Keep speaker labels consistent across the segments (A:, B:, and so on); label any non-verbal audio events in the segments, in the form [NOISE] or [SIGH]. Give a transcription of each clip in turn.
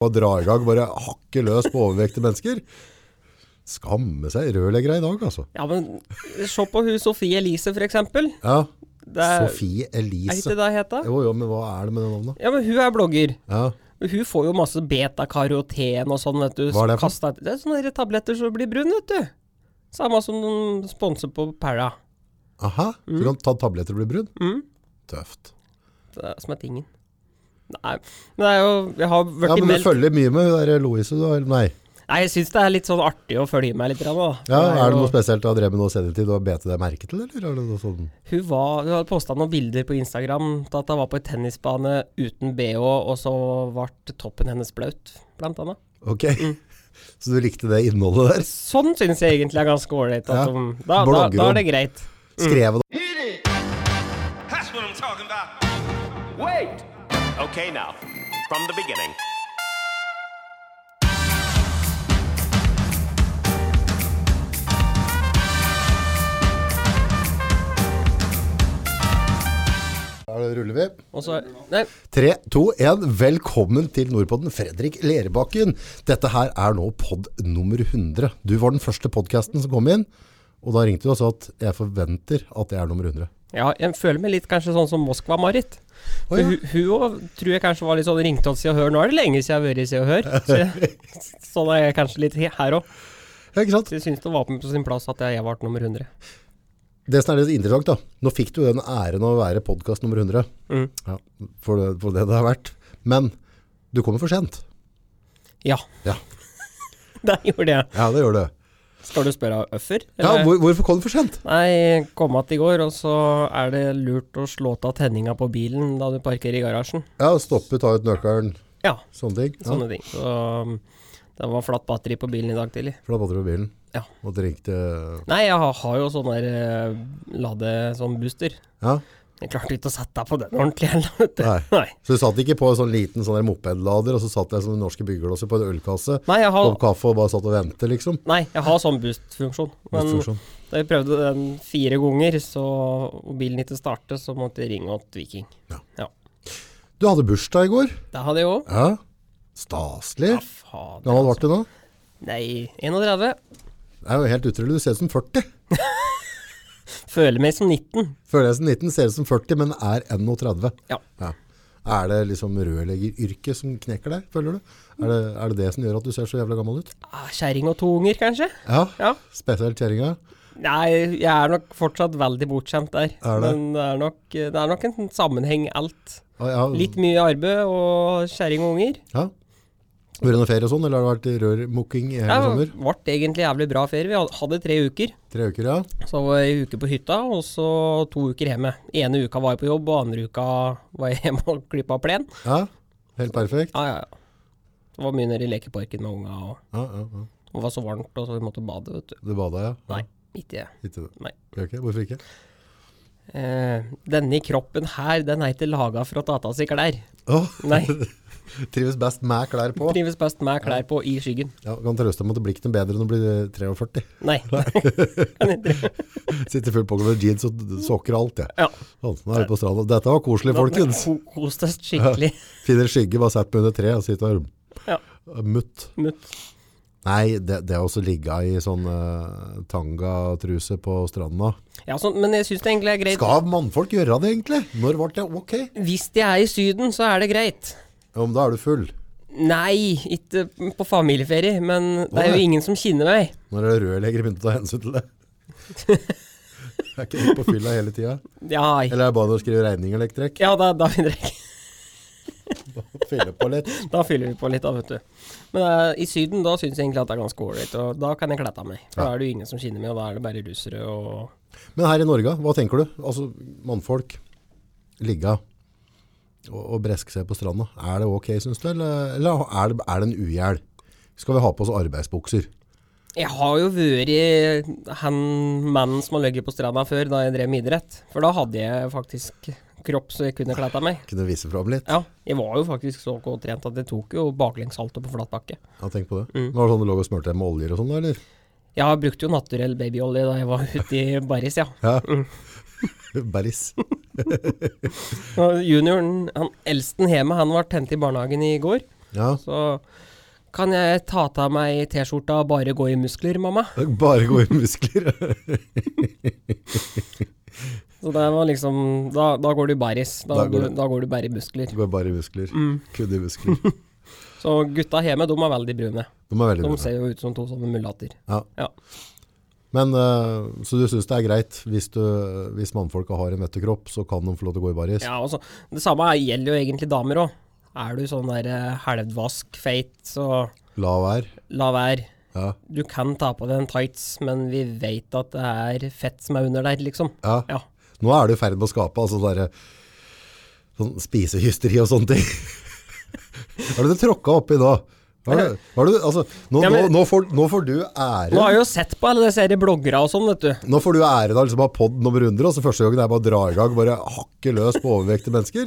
A: og dra i gang bare hakke løs på overvektige mennesker. Skamme seg rørleggere i dag, altså.
B: Ja, men se på hun Sofie Elise, for eksempel.
A: Ja,
B: Det er,
A: Sofie
B: er
A: Elise.
B: ikke det hun heter?
A: Jo, jo, men hva er det med det navnet?
B: Ja, men hun er blogger.
A: Ja,
B: Hun får jo masse betakaroten og sånn, vet du.
A: Hva er det for?
B: kastet etter- Det er sånne der tabletter som blir brun, vet du. Samme som de sponser på Perla.
A: aha. Så kan du ta tabletter og bli brudd?
B: Mm.
A: Tøft.
B: Det er som er tingen. Nei, men det er jo Jeg har
A: Ja,
B: vært
A: men du
B: meldt
A: følger mye med hun der Louise, du har, nei.
B: Nei, jeg syns det er litt sånn artig å følge med litt. grann, Da.
A: Ja,
B: Det
A: er det
B: jo-
A: noe spesielt du har drevet med nå senere tid? Du har bet deg merke til, eller? Er det noe sånn?
B: Hun, var, hun hadde posta noen bilder på Instagram til at hun var på en tennisbane uten bh, og så ble toppen hennes blaut, blant annet.
A: Ok,
B: Mm.
A: [LAUGHS] så du likte det innholdet der?
B: Sånn syns jeg egentlig er ganske ålreit. at
A: Ja.
B: de- Da, da,
A: Blogger
B: da
A: om.
B: er det greit. Mm.
A: Skrevet om
C: Hit it! That's what I'm talking about. Wait!
D: Okay, now, from the beginning.
A: Da ruller vi.
B: Og så Nei,
A: 3, 2, 1. Velkommen til Nordpodden, Fredrik Lerbakken. Dette her er nå pod nummer 100. Du var den første podcasten som kom inn, og da ringte du og sa at jeg forventer at jeg er nummer 100.
B: ja, jeg føler meg litt kanskje sånn som Moskva-Marit. For
A: Å, ja.
B: Hun hun òg tror jeg kanskje var litt sånn ringte oss i Se og Hør. Nå er det lenge siden jeg har vært i Se og
A: [LAUGHS]
B: Hør. Så jeg, sånn er jeg kanskje litt he- her òg.
A: Ja, ikke sant?
B: Så jeg syns det var på sin plass at jeg ble nummer 100.
A: Det som er litt interessant da, nå fikk du den æren av å være podcast nummer 100,
B: Mm.
A: ja, for, det, for det det har vært. Men du kommer for sent.
B: Ja, [LAUGHS]
A: Ja,
B: det gjorde jeg.
A: ja det gjør du.
B: Skal du spørre Øffer?
A: Ja,
B: eller?
A: hvor, hvorfor kom du for sent?
B: Nei, kom att i går, og så er det lurt å slå av tenninga på bilen da du parkerer i garasjen.
A: Ja, stoppe, ta ut nøkkelen,
B: Ja,
A: sånne ting. Ja,
B: sånne ting. Så um, det var flatt batteri på bilen i dag tidlig.
A: for da batter du bilen.
B: Ja.
A: Og det ringte...
B: Nei, jeg har, har jo sånn der eh, lade sånn booster.
A: Ja,
B: Jeg klarte ikke å sette deg på den ordentlig heller, vet du.
A: Nei.
B: Nei.
A: Så du satt ikke på en sånn liten sånn der mopedlader, og så satt jeg som den norske byggelåser på en ølkasse,
B: Nei, jeg har,
A: kopp kaffe og bare satt og ventet, liksom.
B: nei, jeg har sånn boost-funksjon. Men
A: Funksjon.
B: da jeg prøvde den fire ganger, så, og bilen ikke startet, så måtte jeg ringe åt Viking.
A: Ja.
B: ja.
A: Du hadde bursdag i går.
B: Det hadde jeg òg.
A: Ja. Staselig.
B: Ja, faen.
A: Gammel ble du nå?
B: Nei, 31.
A: Det er jo helt utrolig. Du ser ut som 40.
B: Føler meg som 19.
A: Føler jeg som 19, ser ut som 40, men er 31.
B: Ja.
A: Ja. Er det liksom rørleggeryrket som knekker deg, føler du? Er det, er det det som gjør at du ser så jævla gammel ut?
B: Ah, Kjerring og to unger, kanskje?
A: Ja.
B: Ja.
A: Spesielt kjerringa.
B: Nei, jeg er nok fortsatt veldig bortskjemt der.
A: Er det?
B: Men det er, nok, det er nok en sammenheng, alt.
A: Ja, ja.
B: Litt mye arbeid og kjerring og unger.
A: Ja. Vært noe ferie og sånn, eller har det vært rørmokking i hele
B: Det
A: sommer?
B: ble egentlig jævlig bra ferie. Vi had- hadde tre uker.
A: Tre uker, ja.
B: Så var jeg en uke på hytta, og så to uker hjemme. Ene uka var jeg på jobb, og andre uka var jeg [LAUGHS] hjemme og klippa plen.
A: Ja. Helt perfekt.
B: Ja, ja, ja. Det var mye nede i lekeparken med unga, og
A: Ja, ja, ja.
B: det var så varmt, og så vi måtte bade, vet du.
A: Du bada, ja?
B: Nei, ikke det.
A: Ikke det.
B: Nei.
A: Ok, hvorfor ikke?
B: Eh, denne kroppen her, den er ikke laga for å ta av seg klær.
A: Åh,
B: Nei.
A: [LAUGHS] trives best med klær på.
B: Trives best med klær på i skyggen.
A: Ja, kan trøste deg med at det blir ikke noe bedre enn å bli 43.
B: Nei.
A: [LAUGHS] Sitter full pågående med jeans og sokker og alt, jeg.
B: Ja.
A: Sånn, nå er vi på stranda. Dette var koselig, folkens.
B: Ko- Kos deg skikkelig.
A: Finner skygge, bare sett meg under treet og sitter og
B: Ja.
A: mutt.
B: Mutt.
A: Nei, det, det er også ligga i sånn eh, tangatruse på stranda.
B: Ja, sånn, men jeg syns det egentlig er greit.
A: Skal mannfolk gjøre det, egentlig? Når ble det ok?
B: Hvis de er i Syden, så er det greit.
A: Ja, men da er du full.
B: Nei, ikke på familieferie, men det er
A: Hvorfor?
B: jo ingen som kjenner meg.
A: Når er det rørleggere begynte å ta hensyn til det? er ikke du på fylla hele tida?
B: Ja,
A: Eller er det bare å skrive regninger eller trekk?
B: ja da, da, finner jeg ikke.
A: Fylle på litt.
B: da fyller vi på litt, da, vet du. Men eh, i Syden, da syns jeg egentlig at det er ganske ålreit, og da kan jeg klette av meg. For da er det jo ingen som kjenner meg, og da er det bare russere og
A: Men her i Norge, hva tenker du? Altså, mannfolk, ligga og, og breske seg på stranda. Er det ok, synes du? Eller, eller er, det, er det en ugjel? Skal vi ha på oss arbeidsbukser?
B: Jeg har jo vært han mannen som har ligget på stranda før, da jeg drev med idrett. For da hadde jeg faktisk kropp så jeg kunne kledd av meg.
A: Kunne vise fram litt?
B: Ja, jeg var jo faktisk så godt trent at jeg tok jo baklengssalto på flat bakke.
A: Ja, tenk på det. Var det sånn du lå og smørte deg med oljer og sånn, da, eller?
B: Jeg brukte jo naturell babyolje da jeg var [LAUGHS] ute i baris, ja.
A: Ja. [LAUGHS] Berris.
B: Og Junioren, han eldsten hjemme, han var tent i barnehagen i går.
A: Ja.
B: Så kan jeg ta av meg T-skjorta og bare gå i muskler, mamma?
A: Bare gode muskler. [LAUGHS]
B: Så det var liksom Da, da går du bæris. Da,
A: Da går
B: du,
A: du-
B: da går du bare i muskler.
A: Går bare i muskler. Kun i muskler.
B: Så gutta hjemme, de er veldig brune.
A: De er veldig
B: De
A: brune.
B: ser jo ut som to sånne mulater.
A: Ja.
B: Ja.
A: Men, eh, så du syns det er greit hvis, du, hvis mannfolka har en vettekropp, så kan de få lov til å gå i baris?
B: ja og så- det samme gjelder jo egentlig damer òg. Er du sånn der eh, halvvask, feit, så
A: La være.
B: la være.
A: Ja.
B: Du kan ta på deg en tights, men vi veit at det er fett som er under der, liksom.
A: Ja.
B: Ja.
A: Nå er du i ferd med å skape altså derre sånn spisehysteri og sånne ting. [LAUGHS] Hva er det du tråkka oppi nå? Hva er det, hva er det, du- altså, nå,
B: Ja, men-
A: nå, nå, får, nå får du
B: Nå har
A: ære.
B: jeg jo sett på alle disse her bloggere og sånn, vet du.
A: Nå får du æren av liksom å ha podd nummer 100, og så første gangen er bare å dra i gang, bare hakke løs på overvektige mennesker.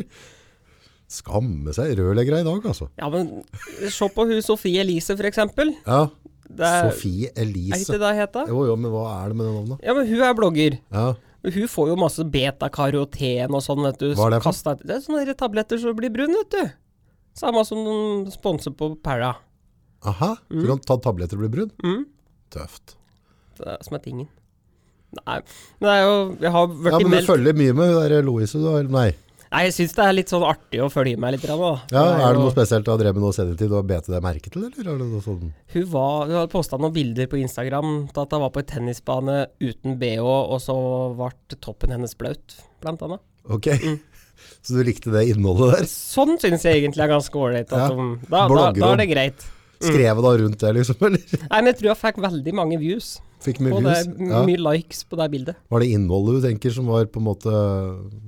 A: Skamme seg rørleggere i dag, altså.
B: Ja, men se på hun Sofie Elise, for eksempel.
A: Ja.
B: Det er,
A: Sofie
B: er
A: Elise.
B: ikke det hun heter?
A: Jo, jo, men hva er det med det navnet?
B: Ja, men hun er blogger.
A: Ja.
B: Hun får jo masse betakaroten og sånn, vet du.
A: Hva er det for?
B: kastet- det er sånne der tabletter som blir brun, vet du. Samme som de sponser på Perla.
A: Aha, så du kan ta tabletter og bli brun?
B: Mm.
A: Tøft.
B: Det er som er tingen. Nei, men det er jo Jeg har
A: Ja,
B: vært
A: men du
B: meldt
A: følger mye med hun der Louise, du har, nei.
B: Nei, jeg syns det er litt sånn artig å følge med litt. grann, Da.
A: Ja, er det
B: jo-
A: noe spesielt du har drevet med noe senere tid? Du har bet deg merke til, eller? Er det noe sånn?
B: Hun, var, hun hadde posta noen bilder på Instagram til at hun var på en tennisbane uten bh, og så ble toppen hennes blaut, blant annet.
A: Ok,
B: Mm.
A: [LAUGHS] så du likte det innholdet der?
B: Sånn syns jeg egentlig er ganske ålreit. at
A: Ja.
B: de- Da, da, da er det greit.
A: Skrevet da rundt det, liksom, [LAUGHS] eller?
B: Nei, men jeg tror jeg fikk veldig mange views.
A: Fikk mye
B: Og det
A: views?
B: er m-
A: Ja.
B: mye likes på det bildet.
A: Var det innholdet du tenker som var på en måte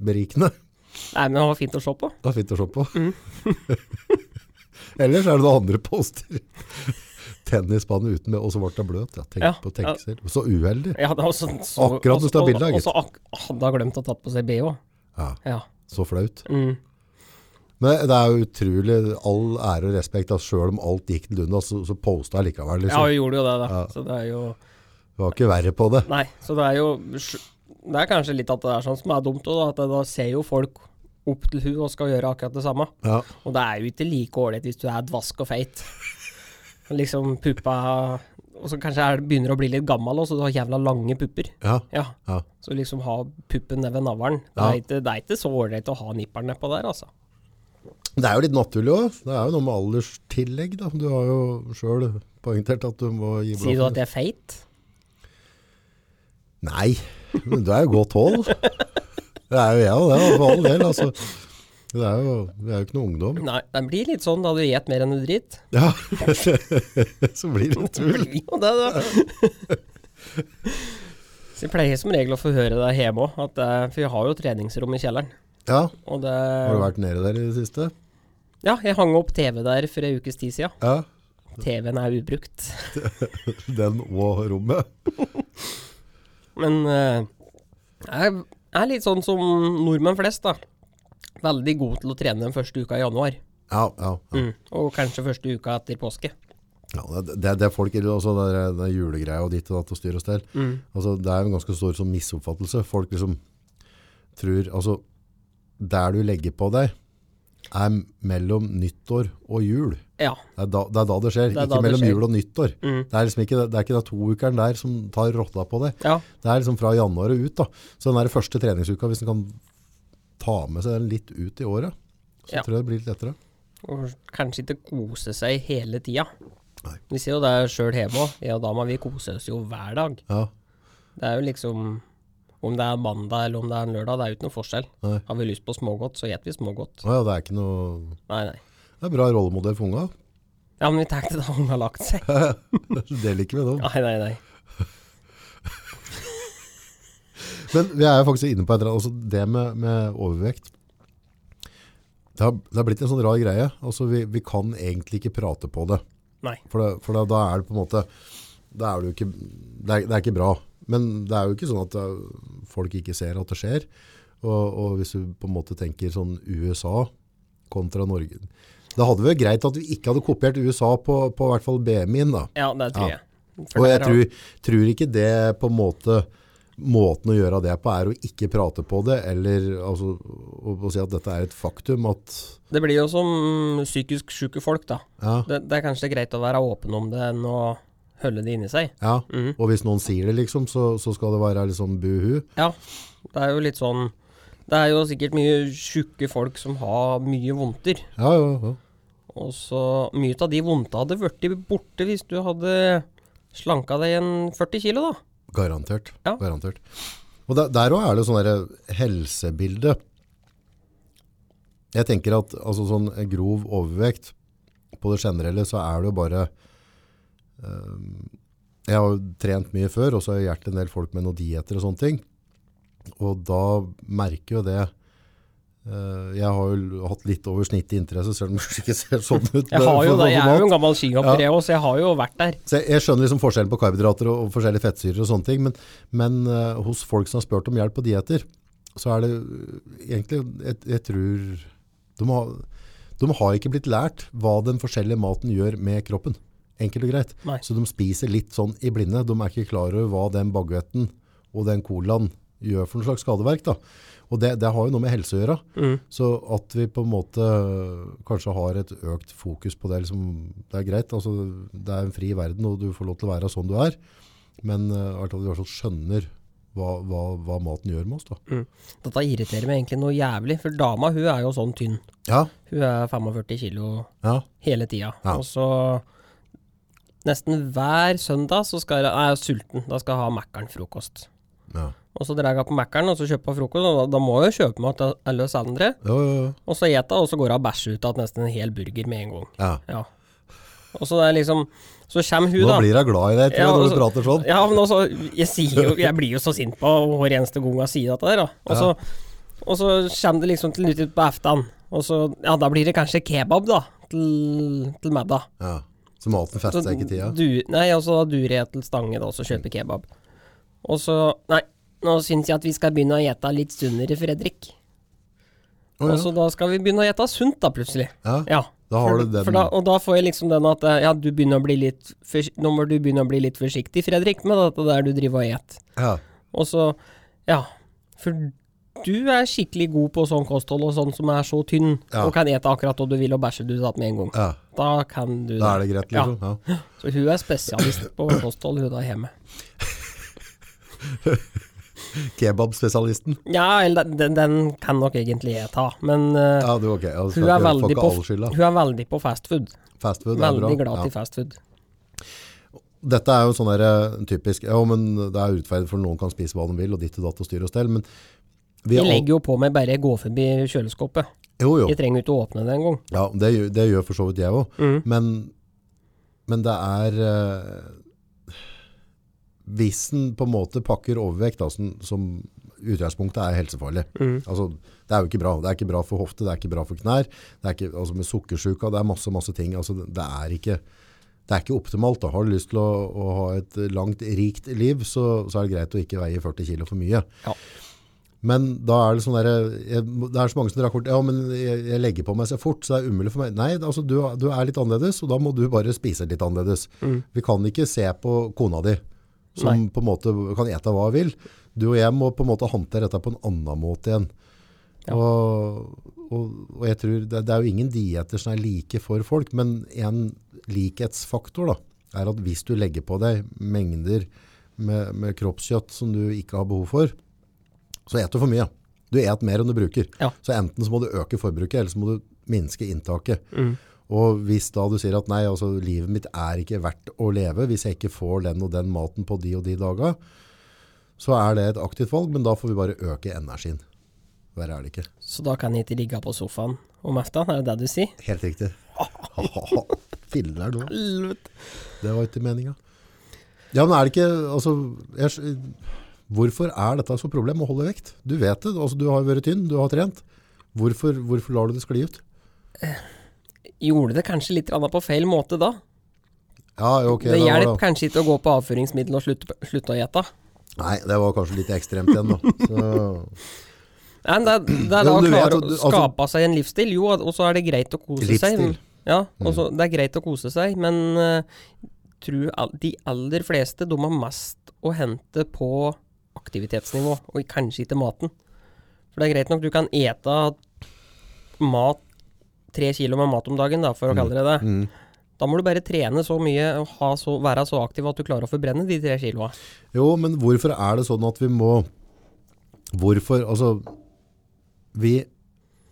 A: berikende? [LAUGHS]
B: Nei, men det var fint å se på.
A: Det er fint å se på.
B: Mm.
A: [LAUGHS] Ellers er det noen andre poster. [LAUGHS] Tennisbane uten med, og så ble det bløt. Ja, tenk
B: Ja,
A: på tenk
B: ja.
A: selv. Så uheldig.
B: Ja, det var sånn- så-
A: Akkurat når du tar
B: og-
A: bildet,
B: og- Og
A: gitt.
B: så ak hadde hun glemt å tatt på seg BH.
A: Ja,
B: Ja.
A: så flaut.
B: Mm.
A: Men det er jo utrolig all ære og respekt at selv om alt gikk til unna, så, så posta jeg likevel.
B: ja,
A: Liksom.
B: hun gjorde jo det, da.
A: Ja.
B: Så det er jo
A: Det var ikke verre på det.
B: Nei, så det er jo Det er kanskje litt at det er sånn som er dumt òg, da. At det- da ser jo folk opp til hun og skal gjøre akkurat det samme.
A: Ja.
B: Og det er jo ikke like ålreit hvis du er dvask og feit. Liksom puppa Og så kanskje er, begynner å bli litt gammel, og så du har jævla lange pupper.
A: Ja.
B: Ja.
A: Ja.
B: Så liksom ha puppen ned ved navlen. Det,
A: Ja.
B: er ikke- det er ikke så ålreit å ha nipperen nedpå der, altså.
A: Det er jo litt naturlig òg. Det er jo noe med alderstillegg. Da. Du har jo sjøl poengtert at du må gi
B: Sier du at
A: blaffen.
B: jeg er feit?
A: Nei, men du er jo godt hold. Det er jo jeg og det, da, for all del. Altså. Det er jo, vi er jo ikke noe ungdom.
B: Nei, det blir litt sånn da du gjeter mer enn du driter.
A: Ja, [LAUGHS] så blir det tull. [LAUGHS]
B: Jo, det, da. [LAUGHS] Så jeg pleier som regel å få høre det hjemme òg, for jeg har jo treningsrom i kjelleren.
A: Ja,
B: Og det
A: har du vært nede der i det siste?
B: Ja, jeg hang opp TV der for ei ukes tid siden.
A: Ja,
B: TV-en er ubrukt. [LAUGHS]
A: den og rommet.
B: Men eh, jeg er litt sånn som nordmenn flest, da. Veldig god til å trene den første uka i januar.
A: Ja, ja. ja.
B: Mm. Og kanskje første uka etter påske.
A: ja det, det, det er folk, også det er det er julegreia og ditt og datt og styr og stell.
B: Mm.
A: Altså, det er jo en ganske stor sånn misoppfattelse. Folk liksom tror, altså, der du legger på deg er mellom nyttår og jul.
B: Ja.
A: Det er da det, er da det skjer,
B: Det er da
A: ikke
B: det
A: mellom
B: skjer.
A: jul og nyttår.
B: Mm.
A: Det er liksom ikke, det er ikke den toukeren der som tar rotta på det.
B: Ja.
A: Det er liksom fra januar og ut. da. Så den der første treningsuka, hvis en kan ta med seg den litt ut i året, så
B: Ja.
A: tror jeg det blir litt lettere.
B: Og kanskje ikke kose seg hele tida.
A: Nei.
B: Vi ser jo det sjøl hjemme òg. Jeg og dama vi koser oss jo hver dag.
A: Ja,
B: Det er jo liksom Om det er mandag eller om det er en lørdag, det er jo ikke noe forskjell.
A: Nei.
B: Har vi lyst på smågodt, så gjeter vi smågodt.
A: Å ja det er ikke noe...
B: Nei, nei.
A: Det er bra rollemodell for unga.
B: Ja, men vi tenkte da hun har lagt seg. [LAUGHS]
A: Det liker vi da.
B: Nei, nei, nei.
A: Men vi er jo faktisk inne på et eller annet, altså det med, med overvekt. Det har, det har blitt en sånn rar greie. Altså vi, vi kan egentlig ikke prate på det.
B: Nei.
A: For, det, for da, da er det på en måte da er det, jo ikke, det, er, det er ikke bra. Men det er jo ikke sånn at det, folk ikke ser at det skjer. Og, og hvis du på en måte tenker sånn USA kontra Norge Da hadde det vært greit at vi ikke hadde kopiert USA på, på i hvert fall BMI-en. da.
B: Ja, det tror
A: Ja.
B: jeg. For
A: Og jeg
B: der har-
A: tror, tror ikke det på en måte måten å gjøre det på er å ikke prate på det, eller altså, å, å si at dette er et faktum at
B: Det blir jo som psykisk syke folk, da.
A: ja,
B: Det, det er kanskje greit å være åpen om det enn å holde det inni seg.
A: ja.
B: Mhm.
A: Og hvis noen sier det, liksom, så, så skal det være liksom buhu.
B: Ja, det er jo litt sånn Det er jo sikkert mye tjukke folk som har mye vondter.
A: Ja, ja, ja.
B: Og så mye av de vondte hadde blitt borte hvis du hadde slanka deg en 40 kilo, da.
A: Garantert.
B: Ja.
A: Garantert. Og der, der også er det sånn derre helsebilde. Jeg tenker at altså, sånn grov overvekt på det generelle så er det jo bare øhm, Jeg har jo trent mye før, og så har jeg hjulpet en del folk med noen dietter og sånne ting. Og da merker jo det øh, Jeg har jo hatt litt over snittet i interesse, selv om det kanskje ikke ser sånn ut.
B: Jeg, har
A: for-
B: jo
A: for-
B: det,
A: for
B: jeg
A: mat.
B: er jo en gammel skihopper, jeg òg, så jeg har jo vært der.
A: Så jeg, jeg skjønner liksom forskjellen på karbohydrater og, og forskjellige fettsyrer og sånne ting, men, men eh, hos folk som har spurt om hjelp på dieter, så er det eh, egentlig, jeg, jeg tror, de har, de har ikke blitt lært hva den forskjellige maten gjør med kroppen. Enkelt og greit.
B: Nei.
A: Så de spiser litt sånn i blinde. De er ikke klar over hva den baguetten og den colaen gjør for noen slags skadeverk. Da. Og det, det har jo noe med helse å gjøre. Så at vi på en måte øh, kanskje har et økt fokus på det, liksom, det er greit. Altså, det er en fri verden, og du får lov til å være sånn du er. Men eh, i hvert fall du i hvert fall skjønner hva, hva, hva maten gjør med oss. Da.
B: Dette irriterer meg egentlig noe jævlig, for dama hun er jo sånn tynn.
A: Ja,
B: Hun er 45 kilo
A: ja,
B: hele tida.
A: Ja.
B: Og så nesten hver søndag så skal jeg, er jeg sulten. Da skal jeg ha Mækkern frokost.
A: ja.
B: Og så drar jeg på Mækkern og så kjøper jeg frokost, og da, da må jeg jo kjøpe meg til alle oss andre.
A: Jo, jo, jo.
B: Og så eter jeg, og så går jeg og bæsjer ut av nesten en hel burger med en gang.
A: ja.
B: Ja. Og så det er liksom Så kommer hun,
A: Nå
B: da.
A: blir jeg glad i deg tror jeg,
B: Ja,
A: når
B: altså-
A: du prater sånn.
B: Ja, men også, jeg, sier jo, jeg blir jo så sint på hver eneste gang jeg sier dette der. da. Og så, og så kommer det liksom til litt ut på aftan. Og så, ja, da blir det kanskje kebab, da. Til, til middag.
A: Ja. Så maten fester seg ikke i tida.
B: du, nei, og så durer jeg til Stange da, og så kjøper kebab. Og så Nei, nå syns jeg at vi skal begynne å gjete litt sunnere, Fredrik.
A: Å,
B: Og så da skal vi begynne å gjete sunt, da, plutselig.
A: ja. ja.
B: Ja.
A: Da har
B: for,
A: du den.
B: For da, og da får jeg liksom den at eh, ja, du begynner å bli litt forsi- Nå må du begynne å bli litt forsiktig, Fredrik, med dette der du driver og et.
A: ja.
B: Og så Ja, for du er skikkelig god på sånn kosthold og sånn som er så tynn,
A: Ja.
B: og kan ete akkurat hva du vil og bæsje du tatt med en gang.
A: Ja,
B: Da kan du
A: da er det greit, liksom. Ja.
B: Ja. Så hun er spesialist på kosthold, hun da hjemme.
A: Kebabspesialisten.
B: Ja, eller den, den kan nok egentlig jeg ta, men eh,
A: Ja, du, ok. Ja, du skal
B: hun,
A: ikke-
B: er
A: får
B: veldig
A: ikke
B: på,
A: all skylda.
B: hun er veldig på fastfood.
A: Fast food er bra.
B: Veldig glad
A: Ja.
B: til fastfood.
A: Dette er jo sånn der, eh, typisk Ja, men det er urettferdig, for noen kan spise hva de vil, og ditt og datt og styr og stell, men vi
B: Vi
A: er al-
B: legger jo på med bare gå forbi kjøleskapet.
A: jo, jo.
B: Jeg trenger jo ikke å åpne det engang.
A: Ja, det, gjør- det gjør for så vidt jeg òg. Men, men det er eh, Hvis en på en måte pakker overvekt, da, som, som utgangspunktet er helsefarlig altså, Det er jo ikke bra. Det er ikke bra for hofte, det er ikke bra for knær. Det er ikke, altså, med sukkersyka, det er masse, masse ting. Altså, det, det er ikke det er ikke optimalt. Da. Har du lyst til å, å ha et langt, rikt liv, så, så er det greit å ikke veie 40 kilo for mye.
B: Ja.
A: Men da er det sånn der, jeg, det er så mange som drar kort, ja, men jeg, jeg legger på meg så fort, så det er umulig for meg. Nei, altså, du, du er litt annerledes, og da må du bare spise litt annerledes. Vi kan ikke se på kona di, som
B: Nei.
A: på en måte kan ete hva hun vil. Du og jeg må på en måte håndtere dette på en annen måte igjen. Og, og, og jeg tror det, det er jo ingen dieter som er like for folk, men en likhetsfaktor da, er at hvis du legger på deg mengder med, med kroppskjøtt som du ikke har behov for, så et du for mye. Du et mer enn du bruker.
B: Ja.
A: Så enten så må du øke forbruket, eller så må du minske inntaket. Og hvis da du sier at nei, altså livet mitt er ikke verdt å leve hvis jeg ikke får den og den maten på de og de dager, så er det et aktivt valg, men da får vi bare øke energien. Verre er det ikke.
B: Så da kan jeg ikke ligge på sofaen om aftenen, er det det du sier?
A: Helt riktig. Filler nå. Det var ikke meninga. Ja, men er det ikke altså, jeg, skj- Hvorfor er dette så problem å holde vekt? Du vet det. Altså, du har jo vært tynn, du har trent. Hvorfor, hvorfor lar du det skli ut?
B: Gjorde det kanskje litt grann på feil måte da?
A: Ja, jo, ok.
B: det
A: var
B: hjelper kanskje ikke å gå på avføringsmiddel og slutte, slutte å gjete.
A: Nei, det var kanskje litt ekstremt igjen,
B: [LAUGHS]
A: da. Så,
B: Nei, men Det, er- det er da
A: Ja, men
B: å
A: du vet
B: klare
A: at du-
B: å
A: altså-
B: skape seg en livsstil, jo, og så er det greit å kose
A: Livsstil.
B: seg. Ja, og så det er greit å kose seg, men eh, uh, tror al- de aller fleste de har mest å hente på aktivitetsnivå, og kanskje ikke maten. For det er greit nok, du kan ete mat tre kilo med mat om dagen, da, for å kalle det det. Da må du bare trene så mye og ha så, være så aktiv at du klarer å forbrenne de tre kiloa.
A: Jo, men hvorfor er det sånn at vi må Hvorfor Altså, vi,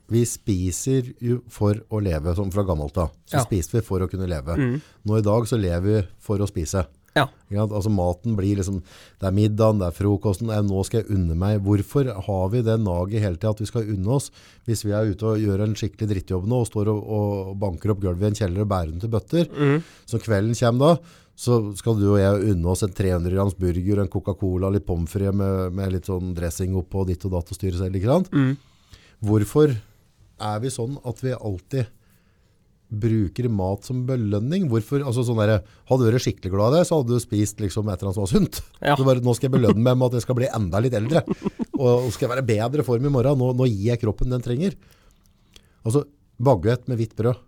A: vi spiser jo for å leve, som fra gammelt av. Så
B: Ja. Mm.
A: spiste vi for å kunne leve. Nå i dag så lever vi for å spise.
B: Ja.
A: Ikke sant? Altså Maten blir liksom Det er middagen, det er frokosten, eh, nå skal jeg unne meg. Hvorfor har vi det naget hele tida at vi skal unne oss? Hvis vi er ute og gjør en skikkelig drittjobb nå og står og, og banker opp gulvet i en kjeller og bærer den til bøtter, så kvelden kommer da, så skal du og jeg unne oss en 300 grams burger, en Coca-Cola, litt pommes frites med, med litt sånn dressing oppå og ditt og datt og styre selv, ikke sant? Hvorfor er vi sånn at vi alltid bruker mat som belønning? Hvorfor, altså sånn der, hadde du vært skikkelig glad i deg, så hadde du spist liksom et eller annet som var sunt.
B: Ja.
A: Så bare, nå skal jeg belønne meg med at jeg skal bli enda litt eldre, og, og skal jeg være i bedre form i morgen, nå, nå gir jeg kroppen den trenger. Altså, baguett med hvitt brød.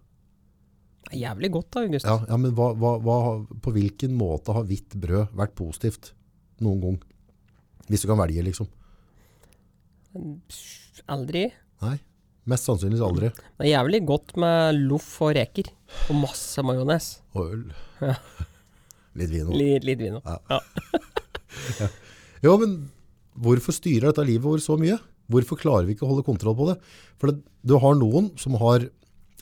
B: Det er jævlig godt da, August.
A: Ja, ja men hva, hva, hva, på hvilken måte har hvitt brød vært positivt noen gang? Hvis du kan velge, liksom.
B: Aldri.
A: Nei, mest sannsynligvis aldri.
B: Det er jævlig godt med loff og reker. Og masse majones.
A: Og øl.
B: Ja.
A: Litt vin også.
B: Litt, litt vin òg.
A: Jo, men hvorfor styrer dette livet vårt så mye? Hvorfor klarer vi ikke å holde kontroll på det? For det, du har noen som har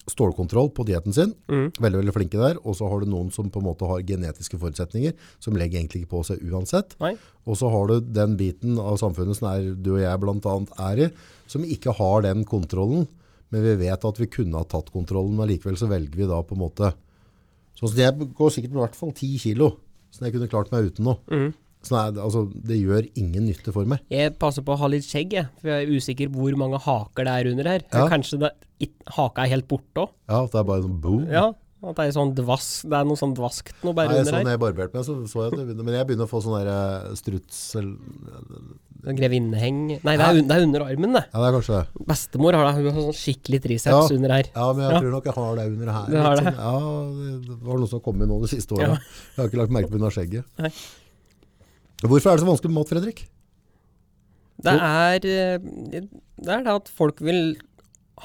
A: stålkontroll på dieten sin, veldig, veldig flinke der, og så har du noen som på en måte har genetiske forutsetninger, som legger egentlig ikke på seg uansett.
B: Nei.
A: Og så har du den biten av samfunnet som er, du og jeg blant annet er i, som ikke har den kontrollen, men vi vet at vi kunne ha tatt kontrollen, men likevel så velger vi da på en måte, sånn som jeg går sikkert med i hvert fall 10 kilo, som jeg kunne klart meg uten nå.
B: Mm.
A: Sånn er, det- altså, det gjør ingen nytte for meg.
B: Jeg passer på å ha litt skjegg, jeg. For jeg er usikker hvor mange haker det er under her.
A: Ja.
B: Kanskje det, it- haka er helt borte òg.
A: Ja, at det er bare sånn boom.
B: Ja. At det er sånn dvask Det er noe sånn dvaskt noe bare
A: Nei,
B: under
A: sånn
B: her.
A: jeg barberte meg, så så jeg at det begynner, men jeg begynner å få sånn der eh, struts, eller-
B: Grevinneheng Sånn Nei, det er, un- det er under armen, det.
A: ja, det er kanskje det.
B: Bestemor har det. Hun har sånn skikkelig triceps
A: Ja.
B: under her.
A: Ja, men jeg
B: Ja.
A: tror nok jeg har det under her.
B: Du har
A: litt
B: det?
A: sånn. Ja, det var noe som kom inn nå de siste årene.
B: Ja.
A: Jeg har ikke lagt merke på grunn av skjegget.
B: Nei.
A: Hvorfor er det så vanskelig med mat, Fredrik?
B: Det er eh, det er det at folk vil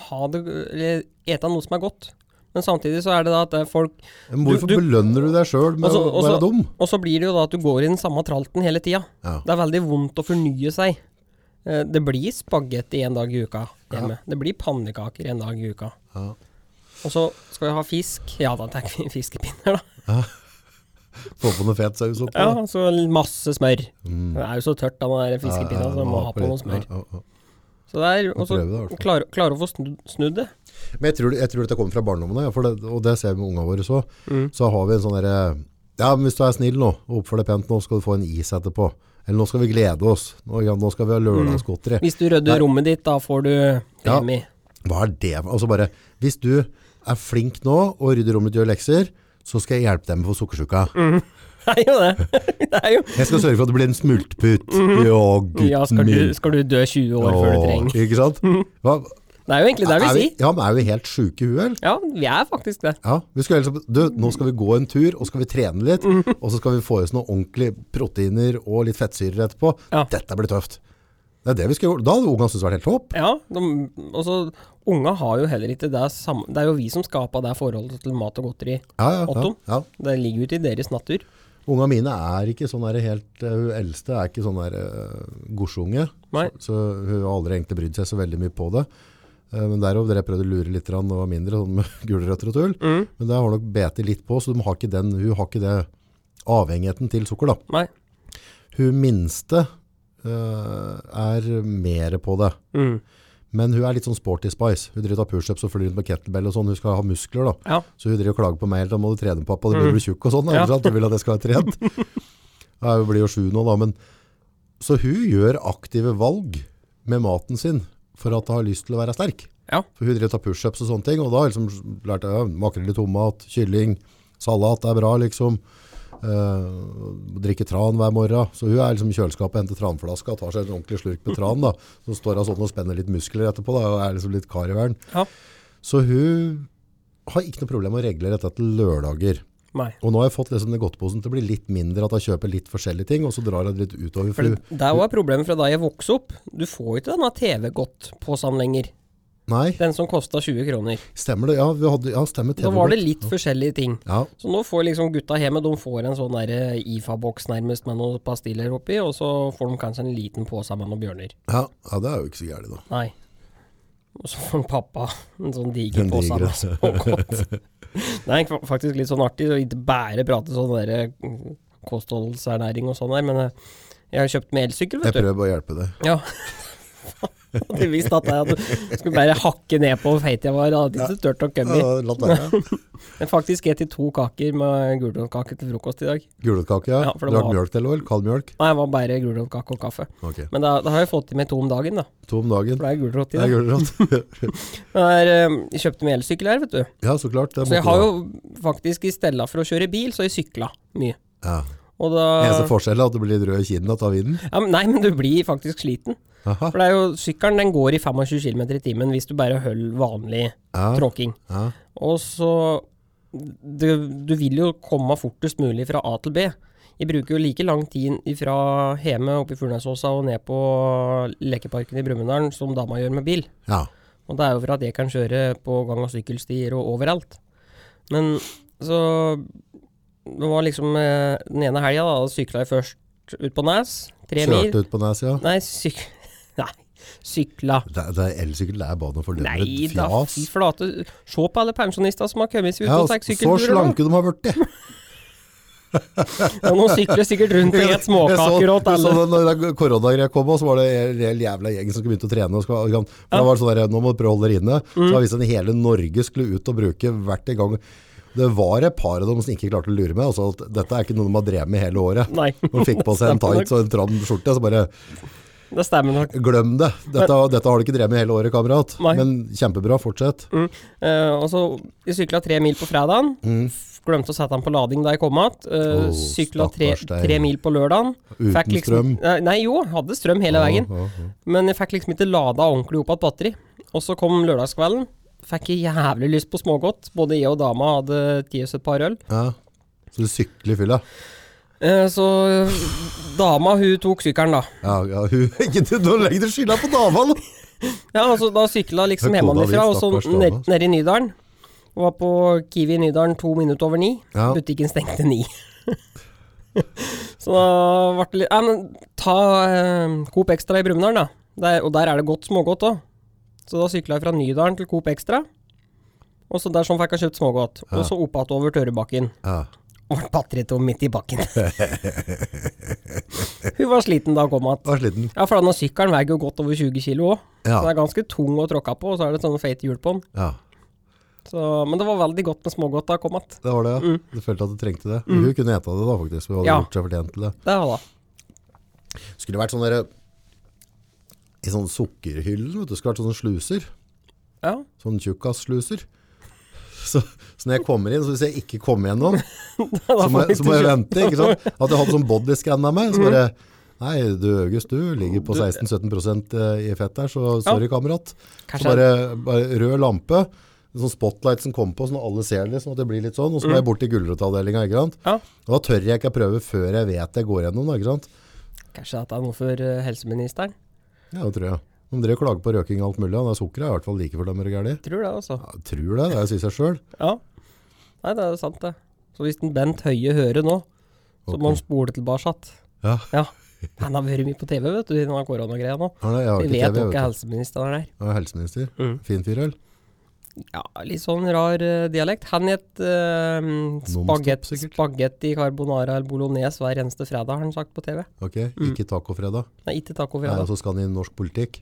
B: ha det Eller ete noe som er godt. Men samtidig så er det da at det er folk
A: Men hvorfor
B: Du- Altså, du-
A: belønner du deg sjøl med
B: Også-
A: å være
B: også-
A: dum?
B: Og så blir det jo da at du går i den samme tralten hele tida.
A: Ja.
B: Det er veldig vondt å fornye seg. Eh, Det blir spagetti en dag i uka hjemme. Det blir pannekaker en dag i uka.
A: Ja.
B: Og så skal vi ha fisk. Ja, da tenker vi [LAUGHS] fiskepinner, da.
A: Få på noe fet saus oppå.
B: Ja, så masse smør.
A: Mm.
B: Det er jo så tørt, da, den der fiskepinna, så du må ha på
A: litt-
B: noe smør.
A: Ja, ja, ja.
B: Så det er,
A: Må
B: og så
A: prøve det, i hvert fall.
B: klare klare å få snu- snudd det.
A: Men jeg tror, jeg tror dette kommer fra barndommen, ja, for det, og det ser vi med ungene våre så.
B: Mm.
A: Så har vi en sånn derre Ja, men hvis du er snill nå, og oppfører deg pent nå, skal du få en is etterpå. Eller nå skal vi glede oss. Nå, ja, nå skal
B: Mm.
A: vi ha lørdagsgodteri.
B: Hvis du rydder rommet ditt, da får du
A: Ja.
B: premie.
A: Hva er det? Altså bare, hvis du er flink nå og rydder rommet og gjør lekser, så skal jeg hjelpe deg med å få sukkersyka.
B: [LAUGHS] Mm. Det er jo det. [LAUGHS] det er jo.
A: Jeg skal sørge for at det blir en
B: [LAUGHS]
A: smultput. Ja, gutten
B: Mm. Ja, skal du,
A: min.
B: skal du dø 20 år før du
A: Åh,
B: trenger?
A: Ikke sant? Hva,
B: Det er jo egentlig det
A: er
B: vi
A: vi,
B: sier.
A: ja, men er vi helt syke i huet, eller?
B: Ja, vi er faktisk det.
A: Ja, vi skal helst, du, nå skal vi gå en tur, og skal vi trene litt,
B: Mm.
A: og så skal vi få i oss noen ordentlige proteiner og litt fettsyrer etterpå.
B: Ja.
A: Dette blir tøft. Det er det vi skal gjøre. Da hadde ungene syntes det var helt topp.
B: Ja, de, altså, unga har jo heller ikke det samme Det er jo vi som skapa det forholdet til mat og godteri.
A: Ja, ja, ja,
B: Otto?
A: ja.
B: Det ligger jo ikke i deres natur.
A: Unga mine er ikke sånn der helt eh, Hun eldste er ikke sånn der eh, godsunge.
B: Nei.
A: Så, så hun har aldri egentlig brydd seg så veldig mye på det. Eh, Men derav dere prøvde å lure litt da hun var mindre, sånn med [LAUGHS] gulrøtter og tull. Men det har nok bete litt på, så de har ikke den, hun har ikke det avhengigheten til sukker. da.
B: Nei.
A: Hun minste eh, er mer på det.
B: Mm.
A: Men hun er litt sånn sporty spice. Hun driver og tar pushups og flyr rundt med kettlebell og sånn. Hun skal ha muskler, da.
B: Ja.
A: Så hun driver og klager på meg hele tiden. Må du trene, pappa? Du blir bli tjukk og sånn. da,
B: Mm. Ja.
A: ikke sant? Du vil at jeg skal ha
B: [LAUGHS]
A: trent. Ja, hun blir jo sju nå, da. Men så hun gjør aktive valg med maten sin for at hun har lyst til å være sterk.
B: Ja.
A: For hun driver og tar pushups og sånne ting. Og da har jeg liksom lært ja, makrell i tomat, kylling, salat er bra, liksom. Eh, drikker tran hver morgen Så hun er liksom i kjøleskapet Henter tranflaska Tar seg en ordentlig slurk med tran da Så står hun sånn og spenner litt muskler etterpå da, Og er liksom litt kar i verden
B: Ja.
A: så hun har ikke noe problem med å regle dette til lørdager.
B: Nei.
A: Og nå har jeg fått liksom den godteposen til å bli litt mindre, at jeg kjøper litt forskjellige ting, og så drar jeg det litt utover. For,
B: For det det er jo et problem fra da jeg vokste opp. Du får jo ikke denne TV-godt-posen lenger.
A: nei,
B: Den som kosta 20 kroner.
A: stemmer det? Ja, vi hadde, ja stemmer
B: Da var det
A: TV-godt.
B: litt forskjellige ting.
A: Ja,
B: Så nå får liksom gutta hjemme de får en sånn der IFA-boks nærmest med noen pastiller oppi, og så får de kanskje en liten pose med noen bjørner.
A: ja, ja, det er jo ikke så gærent da.
B: Nei. Og så får pappa en sånn diger
A: Den
B: pose
A: digre.
B: med
A: [LAUGHS]
B: [LAUGHS] smågodt. Det er fa- faktisk litt sånn artig å ikke bare prate sånn der mm, kostholdsernæring og sånn der, men eh, jeg har kjøpt med elsykkel,
A: Jeg
B: vet du.
A: prøver bare å hjelpe deg.
B: Ja. [LAUGHS] Hadde jeg visst at jeg hadde- skulle bare hakke ned på hvor feit jeg var, hadde ikke turt å komme.
A: Ja, la
B: [LAUGHS]
A: det være.
B: Men faktisk spiste jeg to kaker med gulrotkake til frokost i dag.
A: Gulrotkake, ja.
B: Ja, for det
A: Drakk
B: var-
A: mjølk til, eller? Kald mjølk?
B: Nei, det var bare gulrotkake og kaffe.
A: Ok.
B: Men da, da har jeg fått i meg to om dagen, da.
A: To om dagen.
B: For det er gulrot i
A: Det er
B: det. [LAUGHS]
A: gulrot.
B: Men det er, eh, Jeg kjøpte meg elsykkel her, vet du.
A: ja, så klart. Det
B: Så jeg
A: måtte
B: har
A: du ha.
B: jo faktisk i stedet for å kjøre bil, så har jeg sykla mye.
A: Ja.
B: Og da
A: Eneste forskjell er at du blir litt rød i kinnen av vinden.
B: ja, men Nei, men du blir faktisk sliten.
A: Aha.
B: For det er jo, sykkelen den går i 25 km i timen hvis du bare holder vanlig
A: Ja,
B: tråkking.
A: ja.
B: Og så du, du vil jo komme fortest mulig fra A til B. Jeg bruker jo like lang tid fra hjemme oppe i Furnesåsa og ned på lekeparken i Brumunddal som dama gjør med bil.
A: ja.
B: Og det er jo for at jeg kan kjøre på gang- og sykkelstier og overalt. Men så Det var liksom eh, den ene helga, da. Da sykla jeg først ut på Nes. Tre mil.
A: Kjørte ut på nes, ja.
B: Nei, syk... [LAUGHS] Nei, sykla.
A: Det, det er elsykkel, det er bane for dømmer.
B: Nei da,
A: Fjas.
B: fy flate. Se på alle pensjonister som har kommet seg ut
A: Ja,
B: og tatt
A: så
B: sykkelturer. da.
A: slanke de har blitt.
B: [LAUGHS]
A: jeg.
B: Ja, nå sykler sikkert rundt og
A: Jeg
B: spiser
A: så-
B: småkaker åt
A: jeg så
B: alle.
A: det Når det koronagreia kom, og så var det en reell jævla gjeng som skulle begynne å trene. Og skal, kan, for da var det sånn der, Nå må du prøve å holde dere inne.
B: Mm.
A: Så har det vist seg at hele Norge skulle ut og bruke hvert en gang. Det var et par av dem som ikke klarte å lure meg. Altså, at dette er ikke noe de har drevet med hele året.
B: Nei.
A: De fikk på
B: [LAUGHS]
A: seg en
B: Stemmer nok.
A: tights og en tram skjorte, så bare
B: Det stemmer nok.
A: glem det. Dette, dette har du ikke drevet med hele året, kamerat.
B: Nei.
A: Men kjempebra, fortsett.
B: Eh, og så Jeg sykla tre mil på fredagen.
A: Mm.
B: Glemte å sette den på lading da jeg kom igjen. Uh,
A: Åh,
B: sykla tre,
A: stakkars deg.
B: tre mil på lørdagen.
A: Uten
B: Fikk liksom,
A: strøm.
B: Nei, Nei jo, hadde strøm hele veien.
A: Ja, ja, ja.
B: Men jeg fikk liksom ikke lada ordentlig opp igjen batteri. Og så kom lørdagskvelden. Fikk jeg jævlig lyst på smågodt. Både jeg og dama hadde tatt oss et par øl.
A: Ja. Så du sykler i fylla?
B: Eh, så dama, hun tok sykkelen, da.
A: Ja, ja, hun, [LAUGHS] ikke, du- nå legger du skylda på dama, nå!
B: Ja, altså da sykla liksom
A: Det er kona di,
B: hjemmefra, og så
A: stakkars dame,
B: ned-
A: altså.
B: nede i Nydalen. Og var på Kiwi i Nydalen to minutter over ni.
A: Ja.
B: Butikken stengte ni. [LAUGHS] så da ble det litt Ja, men ta eh, Coop Extra i Brumunddal, da. Der, og der er det godt smågodt òg. Så da sykla jeg fra Nydalen til Coop Extra. Og så der sånn fikk jeg kjøpt smågodt. Og så opp igjen over Tørrebakken.
A: Ja.
B: Og ble batteritom midt i
A: [LAUGHS]
B: bakken. Hun var sliten da hun kom igjen.
A: Var sliten.
B: Ja, for denne sykkelen veier jo godt over 20 kilo òg.
A: Ja.
B: Den er ganske tung å tråkke på, og så er det sånne feite hjul på den.
A: Ja.
B: Så, men det var veldig godt med smågodt da jeg kom att.
A: Det var det, ja. Du følte at du trengte det. Hun kunne eta det da, faktisk. Hun hadde
B: Ja.
A: gjort seg fortjent til det.
B: Det var da.
A: Skulle vært sånn derre I sånn sukkerhylle, vet du. Skulle vært sånne sluser.
B: Ja. [LAUGHS]
A: Sånn tjukkassluser. Så, så når jeg kommer inn, så hvis jeg ikke kommer gjennom,
B: Da
A: så må,
B: får vi
A: jeg, så må jeg
B: ikke-
A: vente. ikke sant? At jeg hadde sånn bodyscan av meg. Så bare Nei, du August, Mm. du ligger på 16-17 eh, i fett der, så sorry, kamerat. Så
B: Kanskje-
A: bare, bare rød lampe, en sånn spotlight som kommer på, sånn at alle ser det, sånn at det blir litt sånn. Og så må jeg
B: Mm.
A: bort til gulrotavdelinga, ikke sant.
B: Ja.
A: Og da tør jeg ikke prøve før jeg vet jeg går gjennom, da, ikke sant.
B: Kanskje at det er noe for eh, helseministeren.
A: Ja, det tror jeg. De drev og klager på røking og alt mulig, og det sukkeret er i hvert fall like for dem er gærent.
B: Tror det, altså.
A: Jeg tror det, det sier seg sjøl.
B: Ja. Nei, det er jo sant, det. Så hvis den Bent Høie hører nå, så må han spole tilbake.
A: Ja.
B: Ja. Han har vært mye på TV, vet du, i denne koronagreia nå.
A: Ja, nei, jeg har
B: Vi
A: ikke TV,
B: vet
A: jeg
B: jo ikke
A: vet
B: Mm.
A: du.
B: helseministeren er der.
A: Jeg er helseminister. Fin fyr, eller?
B: Ja, litt sånn rar eh, dialekt. Han het uh, spagett,
A: sikkert.
B: spagetti carbonara eller bolognese hver eneste fredag, har han sagt på TV.
A: Ok,
B: Mm.
A: ikke tacofredag.
B: Nei, ikke
A: Nei,
B: tacofredag.
A: altså skal han i norsk politikk.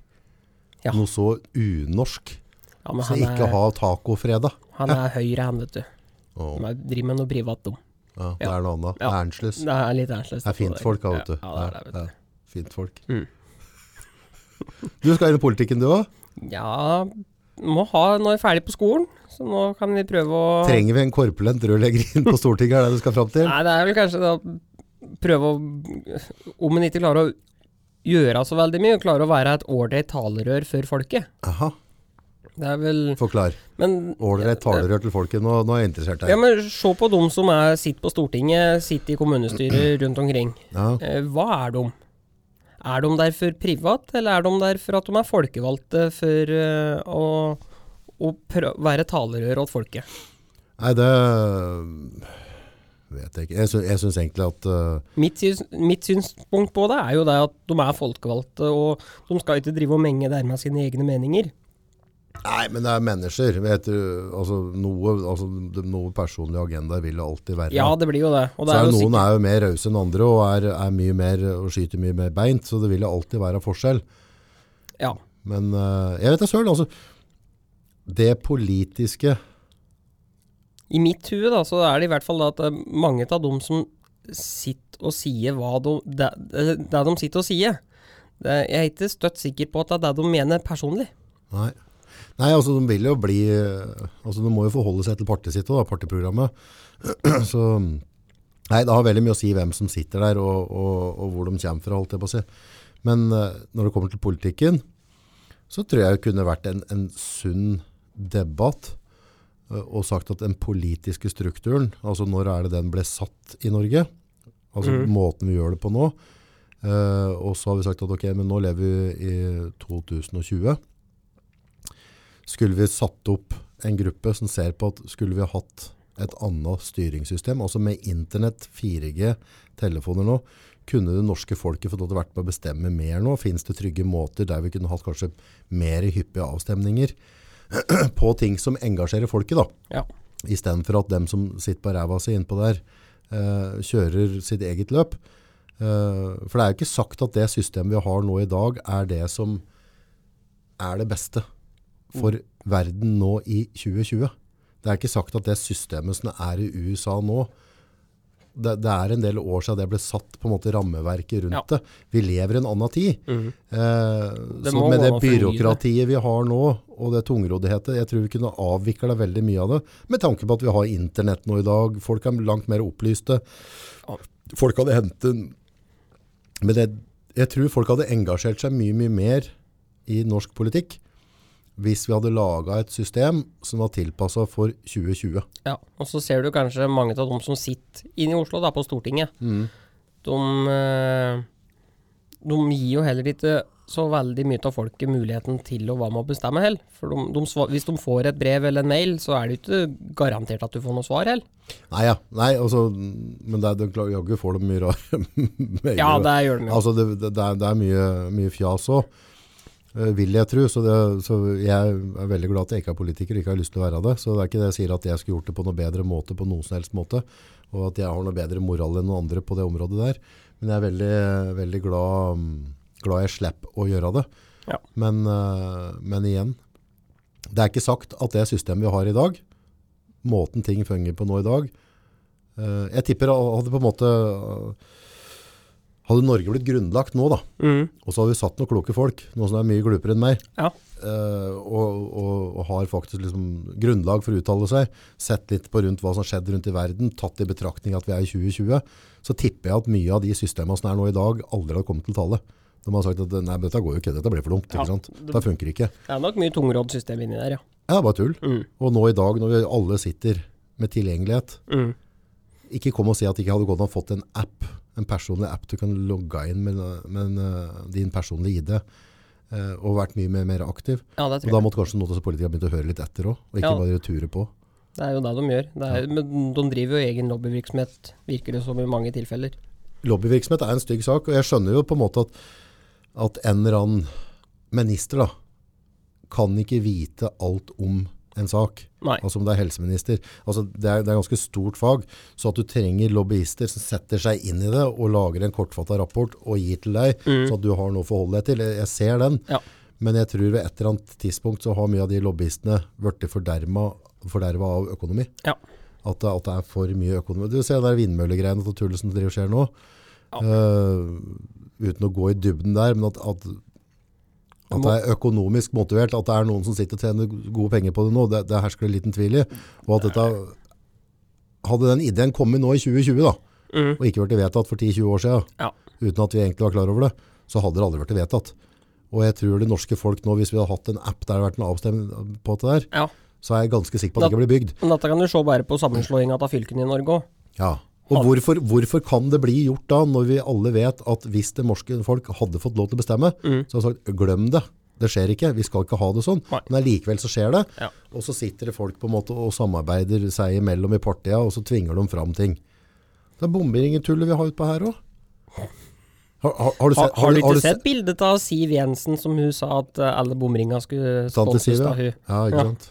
B: Ja.
A: Noe så unorsk.
B: Ja, men
A: Så
B: han
A: ikke
B: er,
A: ha tacofredag.
B: han er høyre, han, vet du.
A: Åh,
B: Han er- driver med noe privat dum.
A: ja, det
B: Ja.
A: er noe annet.
B: Ja.
A: Ernsløs.
B: Det er litt ærenslig.
A: Det er fint folk, da, vet du.
B: Ja, det er det, vet
A: Ja, fint folk.
B: Mm.
A: Du skal inn i politikken, du òg.
B: du. Ja, må ha når jeg er ferdig på skolen, så nå kan vi prøve å
A: Trenger vi en korpulent rørlegger inn på Stortinget, er det du skal fram til?
B: Nei, det er vel kanskje da prøve å Om en ikke klarer å gjøre så veldig mye, klare å være et ålreit talerør for folket.
A: Aha.
B: Det er vel
A: Forklar.
B: Men
A: Ålreit talerør til folket. Nå, nå er jeg interessert
B: Ja,
A: her.
B: men se på de som er, sitter på Stortinget, sitter i
A: [CLEARS THROAT]
B: kommunestyret rundt omkring.
A: Ja.
B: Eh, Hva er de? Er de der for privat, eller er de der for at de er folkevalgte for eh, å, å prø være talerør åt folket?
A: Nei, det vet jeg ikke. Jeg, sy jeg syns egentlig at eh,
B: Mitt, syns, mitt synspunkt på det er jo det at de er folkevalgte, og de skal ikke drive og menge der med sine egne meninger.
A: Nei, men det er mennesker. Vet du, altså, noe, altså, det- noe personlige agendaer vil det alltid være.
B: Ja, det blir jo det. Og
A: så
B: det
A: er
B: er
A: jo
B: jo
A: noen
B: sikkert
A: er jo mer rause enn andre og, er, er mye mer, og skyter mye mer beint, så det vil jo alltid være forskjell.
B: Ja.
A: Men eh, jeg vet da søren, altså. Det politiske
B: I mitt hue da, så er det i hvert fall da at det er mange av dem som sitter og sier hva de, det, det det de sitter og sier. Det, jeg er ikke støtt sikker på at det er det de mener personlig.
A: Nei. Nei, altså de vil jo bli Altså de må jo forholde seg til partiet sitt og da, partiprogrammet. [CLEARS THROAT] Så Nei, det har veldig mye å si hvem som sitter der og, og, og hvor de kommer fra, holdt jeg på å si. Men eh, når det kommer til politikken, så tror jeg det kunne vært en, en sunn debatt eh, og sagt at den politiske strukturen, altså når er det den ble satt i Norge, altså måten vi gjør det på nå, eh, og så har vi sagt at ok, men nå lever vi i 2020, skulle vi satt opp en gruppe som ser på at skulle vi ha hatt et annet styringssystem, altså med internett, 4G, telefoner nå, kunne det norske folket fått lov til å vært med å bestemme mer nå? Finnes det trygge måter der vi kunne hatt kanskje mer hyppige avstemninger [CLEARS THROAT] på ting som engasjerer folket da?
B: Ja.
A: Istedenfor at dem som sitter på ræva si innpå der, eh, kjører sitt eget løp. Eh, for det er jo ikke sagt at det systemet vi har nå i dag, er det som er det beste for verden nå i 2020. Det er ikke sagt at det systemet som er i USA nå, det, det er en del år siden det ble satt på en måte rammeverket rundt
B: Ja. Mhm.
A: det. Vi lever i en annen tid. Eh,
B: Det
A: så
B: må
A: med det
B: gå an å fornye det.
A: byråkratiet vi har nå, og det tungroddhetet, jeg tror vi kunne avvikla veldig mye av det, med tanke på at vi har internett nå i dag, folk er langt mer opplyste. Folk hadde hentet Men det, jeg tror folk hadde engasjert seg mye, mye mer i norsk politikk hvis vi hadde laga et system som var tilpassa for 2020.
B: ja. Og så ser du kanskje mange av dem som sitter inne i Oslo, da, på Stortinget. De, eh, de gir jo heller ikke så veldig mye av folket muligheten til å være med å bestemme heller. For de, de, sva- hvis de får et brev eller en mail, så er det jo ikke garantert at du får noe svar heller.
A: Nei, ja. Nei, altså, men det, er- det, er- jaggu får de mye rare [LAUGHS]
B: Ja, det gjør de jo.
A: Altså, det, det, det er, det er mye, mye fjas òg, vil jeg tro. Så, det, så jeg er veldig glad at jeg ikke er politiker og ikke har lyst til å være det. Så det er ikke det jeg sier at jeg skulle gjort det på noe bedre måte, på noen som helst måte. Og at jeg har noe bedre moral enn noen andre på det området der. Men jeg er veldig, veldig glad, mm, glad jeg slipper å gjøre det.
B: Ja.
A: Men, eh, men igjen, det er ikke sagt at det systemet vi har i dag, måten ting fungerer på nå i dag, eh, jeg tipper hadde på en måte eh, hadde Norge blitt grunnlagt nå da,
B: Mhm.
A: og så hadde vi satt noen kloke folk, noen som er mye glupere enn meg,
B: Ja.
A: eh, og, og, og har faktisk liksom grunnlag for å uttale seg, sett litt på rundt hva som har skjedd rundt i verden, tatt i betraktning at vi er i 2020, så tipper jeg at mye av de systemene som er nå i dag aldri har kommet til tale. De har sagt at nei, men dette går jo ikke, dette blir for dumt,
B: Ja,
A: ikke sant?
B: det-
A: Dette funker ikke.
B: Det er nok mye tungrodd-system inni der, ja.
A: Ja, bare tull.
B: Mm.
A: Og nå i dag, når vi alle sitter med tilgjengelighet,
B: Mm.
A: ikke kom og si at det ikke hadde gått an å fått en app, en personlig app du kan logge inn med, med en, eh, din personlige ID, eh, og vært mye mer, mer aktiv.
B: Ja,
A: Og
B: det tror
A: da
B: jeg.
A: måtte kanskje noen av politikerne begynne å høre litt etter også, og ikke
B: Ja.
A: bare ture på.
B: Det er jo det de gjør. Det er, men de driver jo egen lobbyvirksomhet, virker det som i mange tilfeller.
A: Lobbyvirksomhet er en stygg sak, og jeg skjønner jo på en måte at, at en eller annen minister da, kan ikke vite alt om en sak.
B: Nei.
A: Altså om det er helseminister. Altså det er, det er ganske stort fag, så at du trenger lobbyister som setter seg inn i det og lager en kortfattet rapport og gir til deg, så at du har noe å forholde deg til. Jeg, jeg ser den.
B: Mm. Ja.
A: Men jeg tror ved et eller annet tidspunkt så har mye av de lobbyistene vært forderma, forderva av økonomi.
B: Ja.
A: At, det- at det er for mye økonomi. Du ser den der vindmøllegreiene til tullet som driver skjer nå.
B: Ja.
A: Eh, uten å gå i dybden der, men at, at, at det er økonomisk motivert, at det er noen som sitter og tjener gode penger på det nå, det, det hersker det liten tvil i. Og at dette, hadde den ideen kommet nå i 2020 da, og ikke vært vedtatt for 10-20 år siden,
B: Ja.
A: uten at vi egentlig var klar over det, så hadde det aldri vært vedtatt. Og jeg tror det norske folk nå, hvis vi hadde hatt en app der det hadde vært en avstemning på det der,
B: Ja.
A: så er jeg ganske sikker på at det ikke blir bygd.
B: Men dette kan du se bare på sammenslåinga av fylkene i Norge òg.
A: Ja. Og hvorfor, hvorfor kan det bli gjort da, når vi alle vet at hvis det norske folk hadde fått lov til å bestemme, så hadde de sagt glem det. Det skjer ikke, vi skal ikke ha det sånn.
B: Mm. Nei.
A: Men likevel så skjer det.
B: Ja.
A: Og så sitter det folk på en måte og samarbeider seg imellom i partiet, og så tvinger de fram ting. Det er bomberingetullet vi har utpå her òg. Har, har, har, du
B: Har,
A: sett-
B: har du ikke
A: se-
B: sett bildet av Siv Jensen som hun sa at eh, alle bomringa skulle
A: Tante Siv,
B: stoltes av
A: ja.
B: hun?
A: ja ikke sant?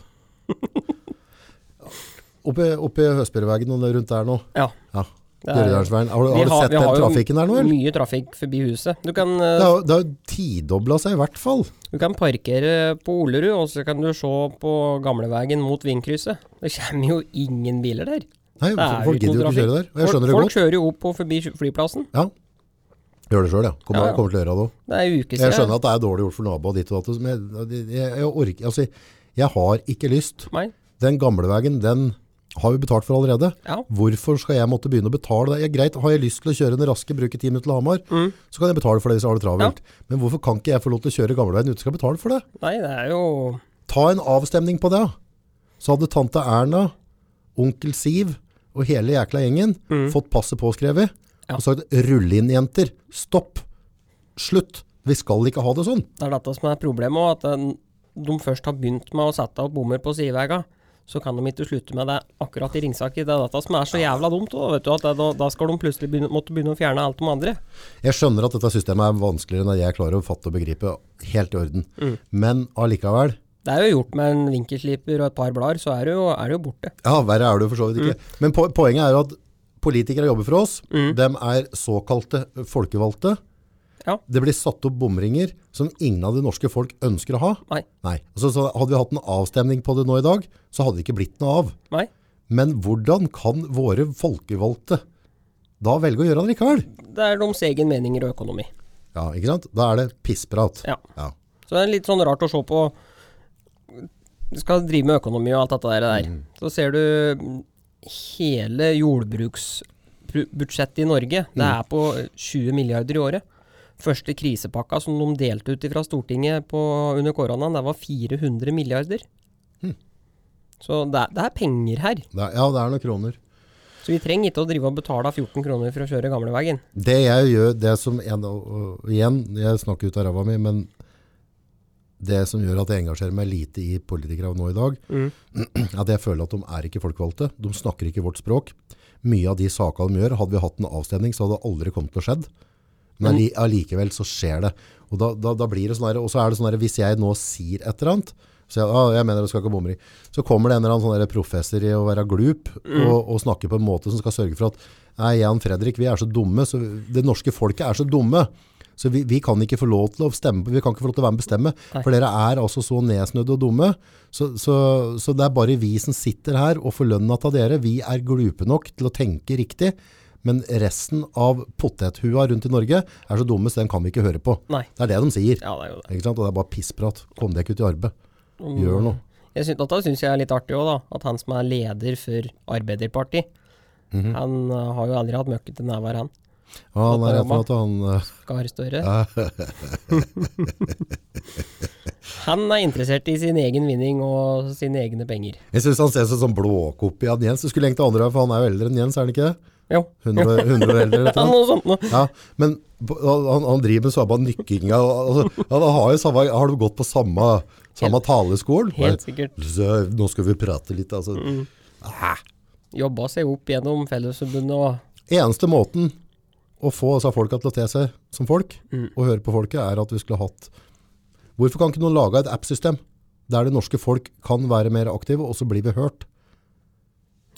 A: Oppe, oppe i Høsbergvegen og rundt der nå.
B: Ja.
A: Ja.
B: Det er-
A: Gyredersveien. Har, du-
B: Vi
A: har du sett
B: vi
A: den
B: jo
A: trafikken der nå? Eller?
B: Mye trafikk forbi huset. Du kan, eh,
A: Det har, det har jo tidobla seg i hvert fall.
B: du kan parkere på Olerud, og så kan du se på gamleveien mot Vindkrysset. Det kommer jo ingen biler der.
A: Nei,
B: Det er
A: Folk gidder jo
B: jo ikke
A: ikke kjøre
B: noe
A: der. Og jeg
B: Folk,
A: skjønner det
B: folk
A: godt.
B: kjører jo opp og forbi flyplassen.
A: Ja. Gjør det sjøl, ja. Kommer,
B: Ja, ja.
A: kommer til å gjøre det òg.
B: Det er en uke siden.
A: Jeg skjønner at det er dårlig gjort for naboer ditt og datt. Men jeg, jeg, jeg orker Altså, jeg har ikke lyst.
B: Nei.
A: Den gamleveien, den har vi betalt for allerede.
B: Ja.
A: Hvorfor skal jeg måtte begynne å betale det? Ja, greit, har jeg lyst til å kjøre den raske, bruke ti minutter til Hamar,
B: Mm.
A: så kan jeg betale for det hvis jeg har det travelt. Men hvorfor kan ikke jeg få lov til å kjøre gamleveien uten å skal betale for det?
B: Nei, det er jo
A: Ta en avstemning på det. da. Så hadde tante Erna, onkel Siv og hele jækla gjengen fått passet påskrevet
B: Mm. Ja.
A: og sagt rull inn, jenter. Stopp. Slutt. Vi skal ikke ha det sånn.
B: det er dette som er problemet òg, at eh, de først har begynt med å sette opp bommer på sideveiene. Så kan de ikke slutte med det akkurat i Ringsaker. Det er dette som er så jævla dumt. Da, vet du, at det, da, da skal de plutselig begynne, måtte begynne å fjerne alt de andre.
A: Jeg skjønner at dette systemet er vanskeligere enn jeg klarer å fatte og begripe. Helt i orden.
B: Mm.
A: Men allikevel
B: Det er jo gjort med en vinkelsliper og et par blader, så er det jo, er det jo borte.
A: Ja, verre er det jo for så vidt ikke.
B: Mm.
A: Men po poenget er jo at politikere jobber for oss. De er såkalte folkevalgte.
B: Ja.
A: Det blir satt opp bomringer som ingen av det norske folk ønsker å ha.
B: Nei.
A: Nei. Altså, så hadde vi hatt en avstemning på det nå i dag, så hadde det ikke blitt noe av.
B: Nei.
A: Men hvordan kan våre folkevalgte da velge å gjøre det likevel?
B: Det er deres egen meninger og økonomi.
A: Ja, ikke sant? Da er det pissprat.
B: Ja.
A: Ja.
B: Så det er litt sånn rart å se på Du skal drive med økonomi og alt dette der. der. Så ser du hele jordbruksbudsjettet i Norge. Det er på 20 milliarder i året. Første krisepakka som de delte ut fra Stortinget på, under koronaen, det var 400 milliarder. Hm. Så det er, det er penger her.
A: Det er, ja, det er noen kroner.
B: Så vi trenger ikke å drive og betale 14 kroner for å kjøre gamleveien.
A: Det jeg gjør, det som en, og- og Igjen, jeg snakker ut av ræva mi, men det som gjør at jeg engasjerer meg lite i politikere nå i dag, [CLEARS THROAT] at jeg føler at de er ikke folkevalgte. De snakker ikke vårt språk. Mye av de sakene de gjør, hadde vi hatt en avstemning, så hadde det aldri kommet til å skjedd. Men alli- allikevel så skjer det. Og da, da, da blir det sånn der, og så er det sånn der, hvis jeg nå sier et eller annet, så jeg, ah, jeg mener det skal ikke bomring, så kommer det en eller annen sånn der professor i å være glup og, og snakke på en måte som skal sørge for at nei, jeg og Fredrik, vi er så dumme, så det norske folket er så dumme, så vi, vi kan ikke få lov til å stemme, på- vi kan ikke få lov til å være med og bestemme,
B: Nei.
A: for dere er altså så nedsnødde og dumme, så, så, så det er bare vi som sitter her og får lønna av dere, vi er glupe nok til å tenke riktig, men resten av potethua rundt i Norge er så dumme, så den kan vi ikke høre på.
B: Nei.
A: Det er det de sier.
B: Ja, det er jo det.
A: Ikke sant? Og det er bare pissprat. Kom deg ikke ut i arbeid.
B: Mm.
A: Gjør noe.
B: Jeg synes, dette syns jeg er litt artig òg, da. At han som er leder for Arbeiderpartiet, han eh, har jo aldri hatt møkkete never, han.
A: Ja, han er rett
B: Jobba.
A: for at han... eh,
B: Gahr Støre. [LAUGHS] han er interessert i sin egen vinning og sine egne penger.
A: Jeg synes han ser seg som blåkopi av Jens. Du skulle egentlig andre, for han er jo eldre enn Jens, er han ikke det?
B: Jo.
A: 100, år- 100 år eldre, rett
B: Ja,
A: og slett.
B: [LAUGHS] noe sånt noe.
A: Ja, men på- han, han driver med samme nykkinga. og- Altså, han har jo samme, har du gått på samme, samme taleskolen?
B: Helt Mm. sikkert.
A: Så, nå skal vi prate litt, altså.
B: Jobba seg opp gjennom Fellesforbundet og
A: Eneste måten å få altså, folka til å te seg som folk, og høre på folket, er at vi skulle hatt Hvorfor kan ikke noen lage et app-system der det norske folk kan være mer aktive, og så blir vi hørt?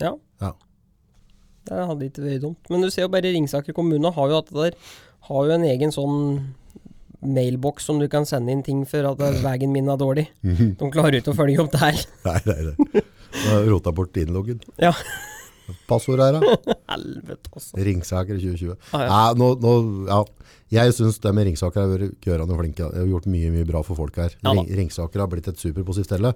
B: Ja.
A: Ja. [LAUGHS]
B: Det hadde ikke vært dumt. Men du ser jo bare Ringsaker kommune har jo hatt det der. Har jo en egen sånn mailboks som du kan sende inn ting for at veien min er dårlig.
A: Mhm.
B: De klarer ikke å følge opp det her.
A: Nei, nei, nei. Nå har jeg Rota bort innloggen.
B: Ja,
A: Passordet her, da.
B: [LAUGHS] helvete altså.
A: Ringsaker 2020.
B: Ah, ja.
A: Nei, nå, nå, ja. Jeg syns de i Ringsaker har vært gørande flinke. De har gjort mye mye bra for folk her.
B: Ja da.
A: Ring, Ringsaker har blitt et superpositivt stelle.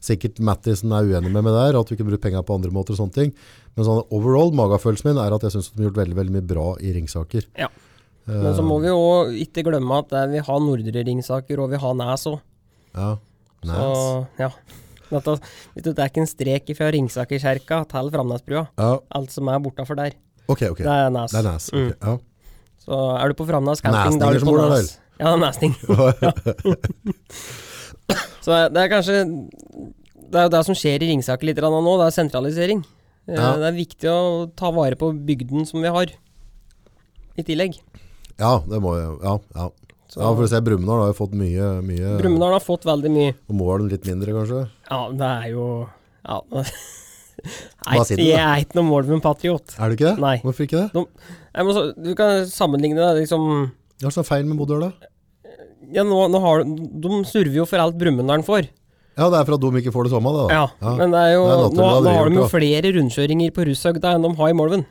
A: Sikkert Mattisen er uenig med meg der, at vi kunne brukt penger på andre måter og sånne ting. Men sånn overall, magefølelsen min er at jeg syns de har gjort veldig veldig mye bra i Ringsaker.
B: Ja.
A: Eh,
B: Men så må vi jo ikke glemme at eh, vi har Nordre Ringsaker, og vi har Næs òg.
A: Ja. Nice.
B: Og ja. Dette, vet du, det er ikke en strek fra Ringsakerkjerka til Framnesbrua.
A: Ja,
B: Alt som er bortafor der.
A: ok, ok.
B: Det er Næs.
A: Det er nice.
B: Mm.
A: ok, ja.
B: Så er du på Framnes camping,
A: Næsninger
B: da er du
A: som
B: på
A: bor der,
B: Næs. Ja, næsning. [LAUGHS] Ja. Så det er kanskje Det er jo det som skjer i Ringsaker litt grann nå, det er sentralisering. Eh,
A: Ja.
B: Det er viktig å ta vare på bygden som vi har, i tillegg.
A: Ja, det må jo Ja, ja.
B: Så-
A: ja for å se Brumunddal har jo fått mye, mye
B: Brumunddal har fått veldig mye.
A: Og Moelv litt mindre, kanskje.
B: Ja, det er jo ja. [LAUGHS]
A: Hva sier du,
B: Jeg
A: da?
B: er ikke noe Molven-patriot.
A: Er det ikke det?
B: Nei.
A: Hvorfor ikke det?
B: Jeg må så- Du kan sammenligne det liksom
A: Hva er det som er feil med Bodø, da?
B: Ja, nå, nå har du De surver jo for alt Brumunddal får.
A: Ja, det er for at de ikke får det samme, det, da.
B: Ja, men det er jo
A: Det er naturlig,
B: Nå,
A: det
B: nå
A: hadde
B: har
A: de gjort,
B: de jo
A: da.
B: flere rundkjøringer på Russhøgda enn de har i
A: [LAUGHS]
B: Molven.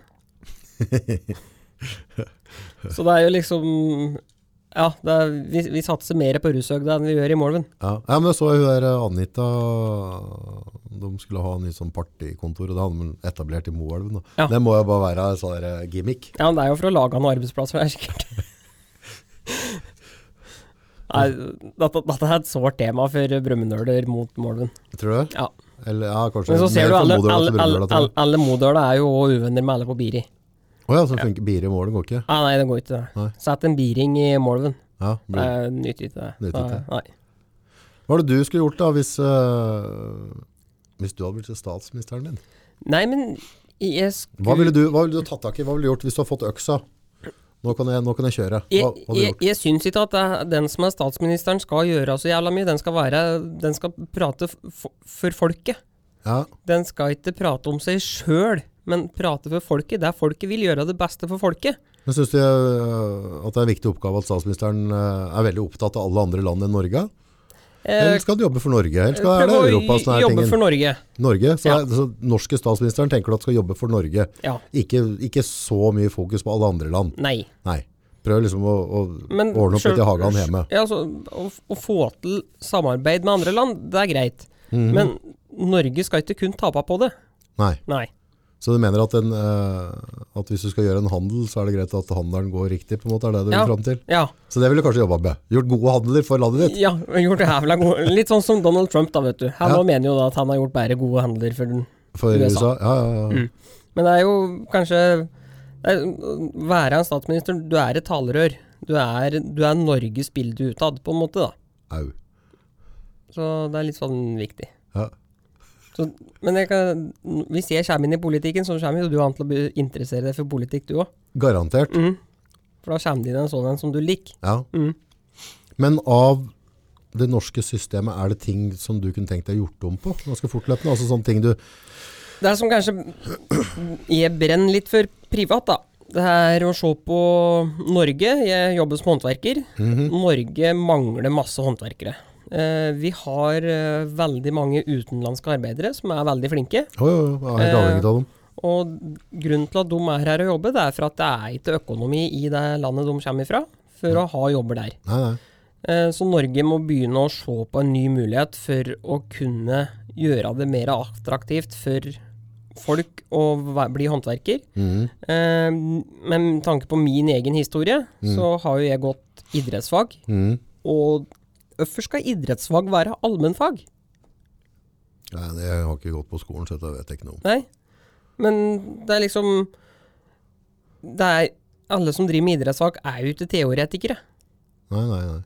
B: Så det er jo liksom Ja, det er, vi, vi satser mer på Russhøgda enn vi gjør i Molven.
A: Ja. ja, men jeg så hun der eh, Anita De skulle ha en ny sånn partikontor, og det hadde de etablert i Moelven. da.
B: Ja.
A: Det må jo bare være en sånn der, eh, gimmick.
B: Ja, men det er jo for [LAUGHS] å lage noen arbeidsplasser der, sikkert. Nei, dette, dette er et sårt tema for brumunddøler mot Molven.
A: Tror du det?
B: Ja.
A: Eller ja, kanskje
B: Men så
A: mer
B: ser du
A: fra
B: alle,
A: Bodø til
B: alle, alle,
A: Brumunddal, tror
B: alle,
A: jeg.
B: alle modøler er jo uvenner med alle på Biri.
A: Å ja, så funker bier i Moelven, går ikke?
B: Ah, nei, det går ikke.
A: Nei.
B: det. Sett en biring i Molven.
A: Ja,
B: Det
A: blir.
B: er- nytter ikke det.
A: Nytter ikke.
B: Nei.
A: Hva er det du skulle gjort da, hvis, eh, hvis du hadde blitt statsministeren din?
B: Nei, men jeg skulle
A: Hva ville du, hva ville du tatt tak i? Hva ville du gjort hvis du hadde fått øksa? Nå kan jeg, nå kan jeg kjøre. Hva, hva
B: Jeg,
A: hadde du
B: jeg,
A: gjort?
B: jeg syns ikke at det- den som er statsministeren skal gjøre så jævla mye. Den skal, være, den skal prate f- for, for folket.
A: Ja,
B: Den skal ikke prate om seg sjøl, men prate for folket. Der folket vil gjøre det beste for folket.
A: men synes du eh, at det er en viktig oppgave at statsministeren eh, er veldig opptatt av alle andre land enn Norge?
B: Eh,
A: Eller skal du jobbe for Norge? Eller skal er
B: prøv
A: det
B: å
A: Europa som er
B: jobbe
A: tingen?
B: for Norge.
A: Norge? Så,
B: Ja.
A: er, så norske statsministeren tenker at skal jobbe for Norge.
B: Ja.
A: Ikke, ikke så mye fokus på alle andre land.
B: Nei.
A: Nei. Prøv liksom å, å
B: Men
A: ordne opp
B: selv-
A: litt i hagen hjemme.
B: Ja, altså, å, f- å få til samarbeid med andre land, det er greit.
A: Mhm.
B: Men Norge skal ikke kun tape på det.
A: Nei.
B: Nei.
A: Så du mener at, en, eh, at hvis du skal gjøre en handel, så er det greit at handelen går riktig, på en måte, er det du
B: Ja.
A: vil fram til?
B: Ja.
A: Så det ville du kanskje jobba med. Gjort gode handler for landet ditt.
B: [LAUGHS] Ja, vi har gjort det jævla gode Litt sånn som Donald Trump, da, vet du. Han
A: Ja.
B: nå mener jo da at han har gjort bare gode handler for den.
A: For
B: USA. Mm.
A: USA. Ja, ja, ja.
B: Men det er jo kanskje det er, Være en statsminister, du er et talerør. Du er, du er Norges bilde utad, på en måte, da.
A: Au.
B: Så det er litt sånn viktig.
A: Ja.
B: Så, men jeg kan, hvis jeg kommer inn i politikken, så kommer jo du an til å be- interessere deg for politikk, du òg.
A: Garantert.
B: For da kommer det inn en sånn en som du liker.
A: Ja.
B: Mm.
A: Men av det norske systemet, er det ting som du kunne tenkt deg gjort om på? Ganske fortløpende? Altså sånne ting du
B: Det som kanskje jeg brenner litt for privat, da. Det er å se på Norge. Jeg jobber som håndverker. Norge mangler masse håndverkere. Eh, vi har eh, veldig mange utenlandske arbeidere som er veldig flinke.
A: Å, jo, jo, jeg er helt avhengig av dem.
B: Og grunnen til at de er her og jobber, det er for at det er ikke økonomi i det landet de kommer ifra, for å ha jobber der.
A: Nei, nei.
B: Eh, Så Norge må begynne å se på en ny mulighet for å kunne gjøre det mer attraktivt for folk å væ- bli håndverker.
A: Mm,
B: Eh, Men med tanke på min egen historie, så har jo jeg gått idrettsfag.
A: Mm.
B: Og hvorfor skal idrettsfag være allmennfag?
A: nei. Jeg har ikke gått på skolen, så dette vet jeg ikke noe om.
B: Nei. Men det er liksom Det er Alle som driver med idrettsfag, er jo ikke teoretikere.
A: Nei, nei, nei.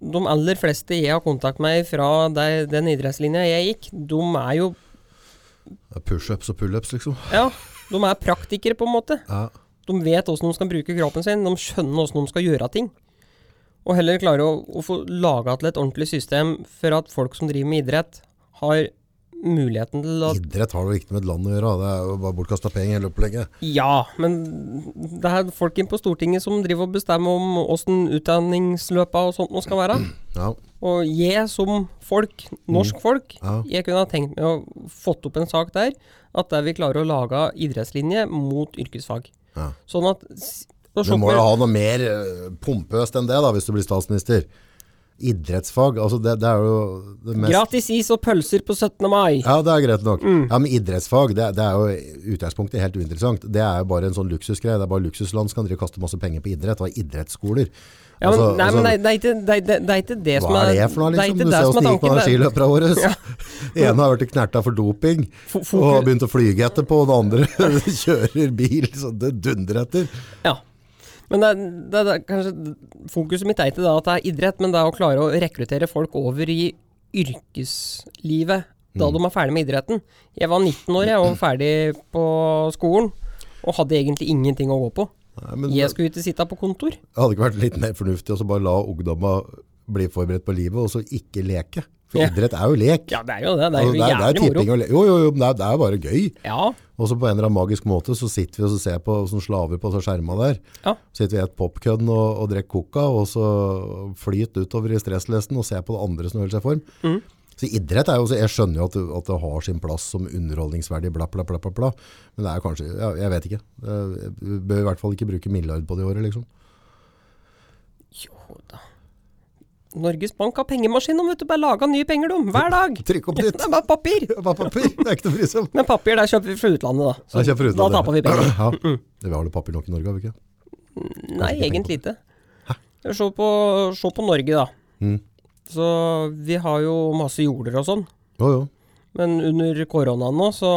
B: de aller fleste jeg har kontakt med fra de, den idrettslinja jeg gikk, de er jo
A: Det er Pushups og pullups, liksom.
B: ja, de er praktikere, på en måte.
A: Ja.
B: De vet åssen de skal bruke kroppen sin, de skjønner åssen de skal gjøre ting. Og heller klare å, å få laga til et ordentlig system for at folk som driver med idrett, har muligheten til å
A: Idrett har det jo ikke med et land å gjøre. da. Det er jo bare bortkasta penger hele opplegget.
B: Ja, men det er folk inne på Stortinget som driver og bestemmer om åssen utdanningsløpa og sånt nå skal være.
A: Ja.
B: Og jeg som folk, norsk folk,
A: Ja.
B: jeg kunne ha tenkt meg å fått opp en sak der, at der vi klarer å lage idrettslinje mot yrkesfag.
A: Ja.
B: Sånn at s- og
A: Du
B: se
A: må
B: på-
A: jo ha noe mer eh, pompøst enn det da, hvis du blir statsminister. Idrettsfag, altså det, det er jo det mest
B: Gratis is og pølser på 17. mai.
A: Ja, det er greit nok.
B: Mm.
A: Ja, Men idrettsfag, det, det er jo i utgangspunktet helt uinteressant. Det er jo bare en sånn luksusgreie. Det er bare luksusland som kan drive og kaste masse penger på idrett og ha idrettsskoler.
B: Ja, men,
A: Altså-
B: nei,
A: altså,
B: men det, er- det, er ikke, det, er- det, er ikke det som
A: hva er det for noe,
B: det er
A: liksom?
B: ikke
A: Du
B: det
A: ser
B: som er
A: åssen det gikk med
B: tanken,
A: den
B: det-
A: skiløperen
B: [LAUGHS]
A: vår. Den ene har vært knerta for doping
B: Fo- fokus-
A: og begynt å flyge etterpå, og den andre [LAUGHS] kjører bil så det dundrer etter.
B: Ja. Men det, er- det, er- det er kanskje fokuset mitt er ikke da at det er idrett, men det er å klare å rekruttere folk over i yrkeslivet
A: Mm.
B: da de er ferdig med idretten. Jeg var 19 år jeg, og ferdig på skolen, og hadde egentlig ingenting å gå på.
A: Nei, men
B: Jeg skulle ikke sitte på kontor.
A: Det hadde ikke vært litt mer fornuftig å så bare la ungdomma bli forberedt på livet, og så ikke leke. For
B: Ja.
A: idrett er jo lek.
B: Ja, det er jo det. Det er
A: Altså,
B: jo jævlig
A: tipping
B: moro.
A: og le- Jo, jo, jo, men det er, det er jo bare gøy.
B: Ja,
A: Og så på en eller annen magisk måte så sitter vi og så ser på som slaver på skjerma der.
B: ja.
A: Så sitter vi i et popkønn og, og drikker coca, og så flyter utover i stresslesten og ser på det andre som holder seg i form.
B: Mm.
A: Så idrett er jo, så jeg skjønner jo at det, at det har sin plass som underholdningsverdig, bla bla bla bla bla. Men det er kanskje, ja, jeg vet ikke. Eh, Vi bør i hvert fall ikke bruke milliard på det i året, liksom.
B: Jo da. Norges Bank har pengemaskin, de vet du. Bare laga nye penger, de. Hver dag.
A: Trykk opp litt.
B: [LAUGHS] Det er bare papir.
A: Det er bare papir, det er ikke noe å bry seg om.
B: Men papir, der kjøper vi fra utlandet, da. Så
A: Jeg kjøper utlandet.
B: Da taper vi
A: [CLEARS THROAT]
B: penger. Mm.
A: Ja. Det- Vi har det papir nok i Norge, har vi ikke?
B: Nei, egentlig ikke. Se på, se på Norge, da.
A: Mm.
B: Så vi har jo masse jorder og sånn.
A: Jo, jo.
B: Men under koronaen nå, så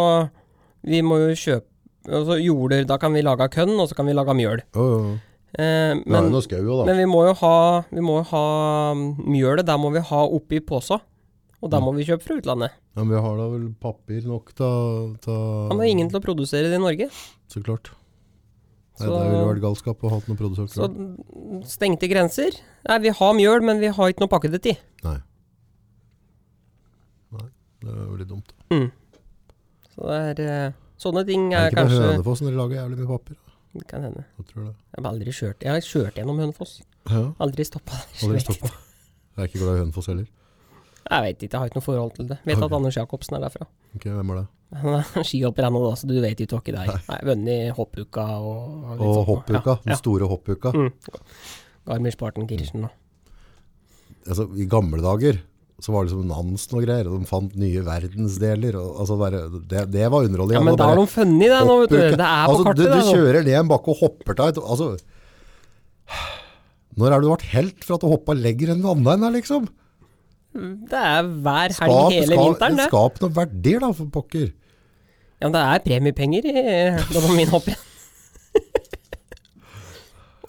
B: vi må jo kjøpe Altså jorder, da kan vi lage kønn, og så kan vi lage mjøl.
A: jo, jo.
B: Eh,
A: Vi har jo
B: men,
A: noe skau òg, da.
B: men vi må jo ha, vi må jo ha mm, mjølet, der må vi ha oppi posa. Og
A: Mm.
B: der må vi kjøpe fra utlandet.
A: Ja, men vi har da vel papir nok til
B: Han har ingen til å produsere det i Norge.
A: Så klart. Nei,
B: Så-
A: det ville vært galskap å ha hatt noen produsert.
B: Så
A: klart.
B: mm, stengte grenser. Nei, vi har mjøl, men vi har ikke noe pakket det i.
A: Nei. Nei, det er jo litt dumt.
B: Så det er, eh, sånne ting
A: Er det
B: er,
A: ikke på
B: kanskje
A: Hønefoss når de lager jævlig mye papir? da?
B: Det kan hende.
A: Jeg tror det.
B: Jeg har aldri kjørt Jeg har kjørt gjennom Hønefoss.
A: Ja,
B: Aldri stoppa der.
A: aldri stoppa. Jeg er ikke glad i Hønefoss heller.
B: Jeg vet ikke, jeg har ikke noe forhold til det. Jeg vet
A: Ok.
B: at Anders Jacobsen er derfra.
A: Ok, hvem er det?
B: Han er [LAUGHS] skihopper ennå, da, så du vet jo ikke deg. Nei, Vunnet hoppuka og Mm. litt
A: Og
B: sånt nå.
A: hoppuka. Den
B: Ja,
A: store hoppuka.
B: ja. Garmisch-Partenkirchen og
A: Altså, I gamle dager så var det liksom Nansen og greier, og de fant nye verdensdeler. Og, altså, bare, det, det var underholdning.
B: Ja,
A: Altså,
B: men da
A: bare-
B: har de funnet det nå, vet du.
A: Oppuke.
B: Det er på
A: altså,
B: kartet,
A: du,
B: det.
A: du
B: nå.
A: kjører ned en bakke og hopper deg. et- Altså, når er du vært helt for at du hoppa lenger enn vannveien her, liksom?
B: Det er hver helg hele vinteren, det.
A: skap noen verdier, da, for pokker.
B: Ja, men det er premiepenger i eh, Da må min hoppe igjen. [LAUGHS]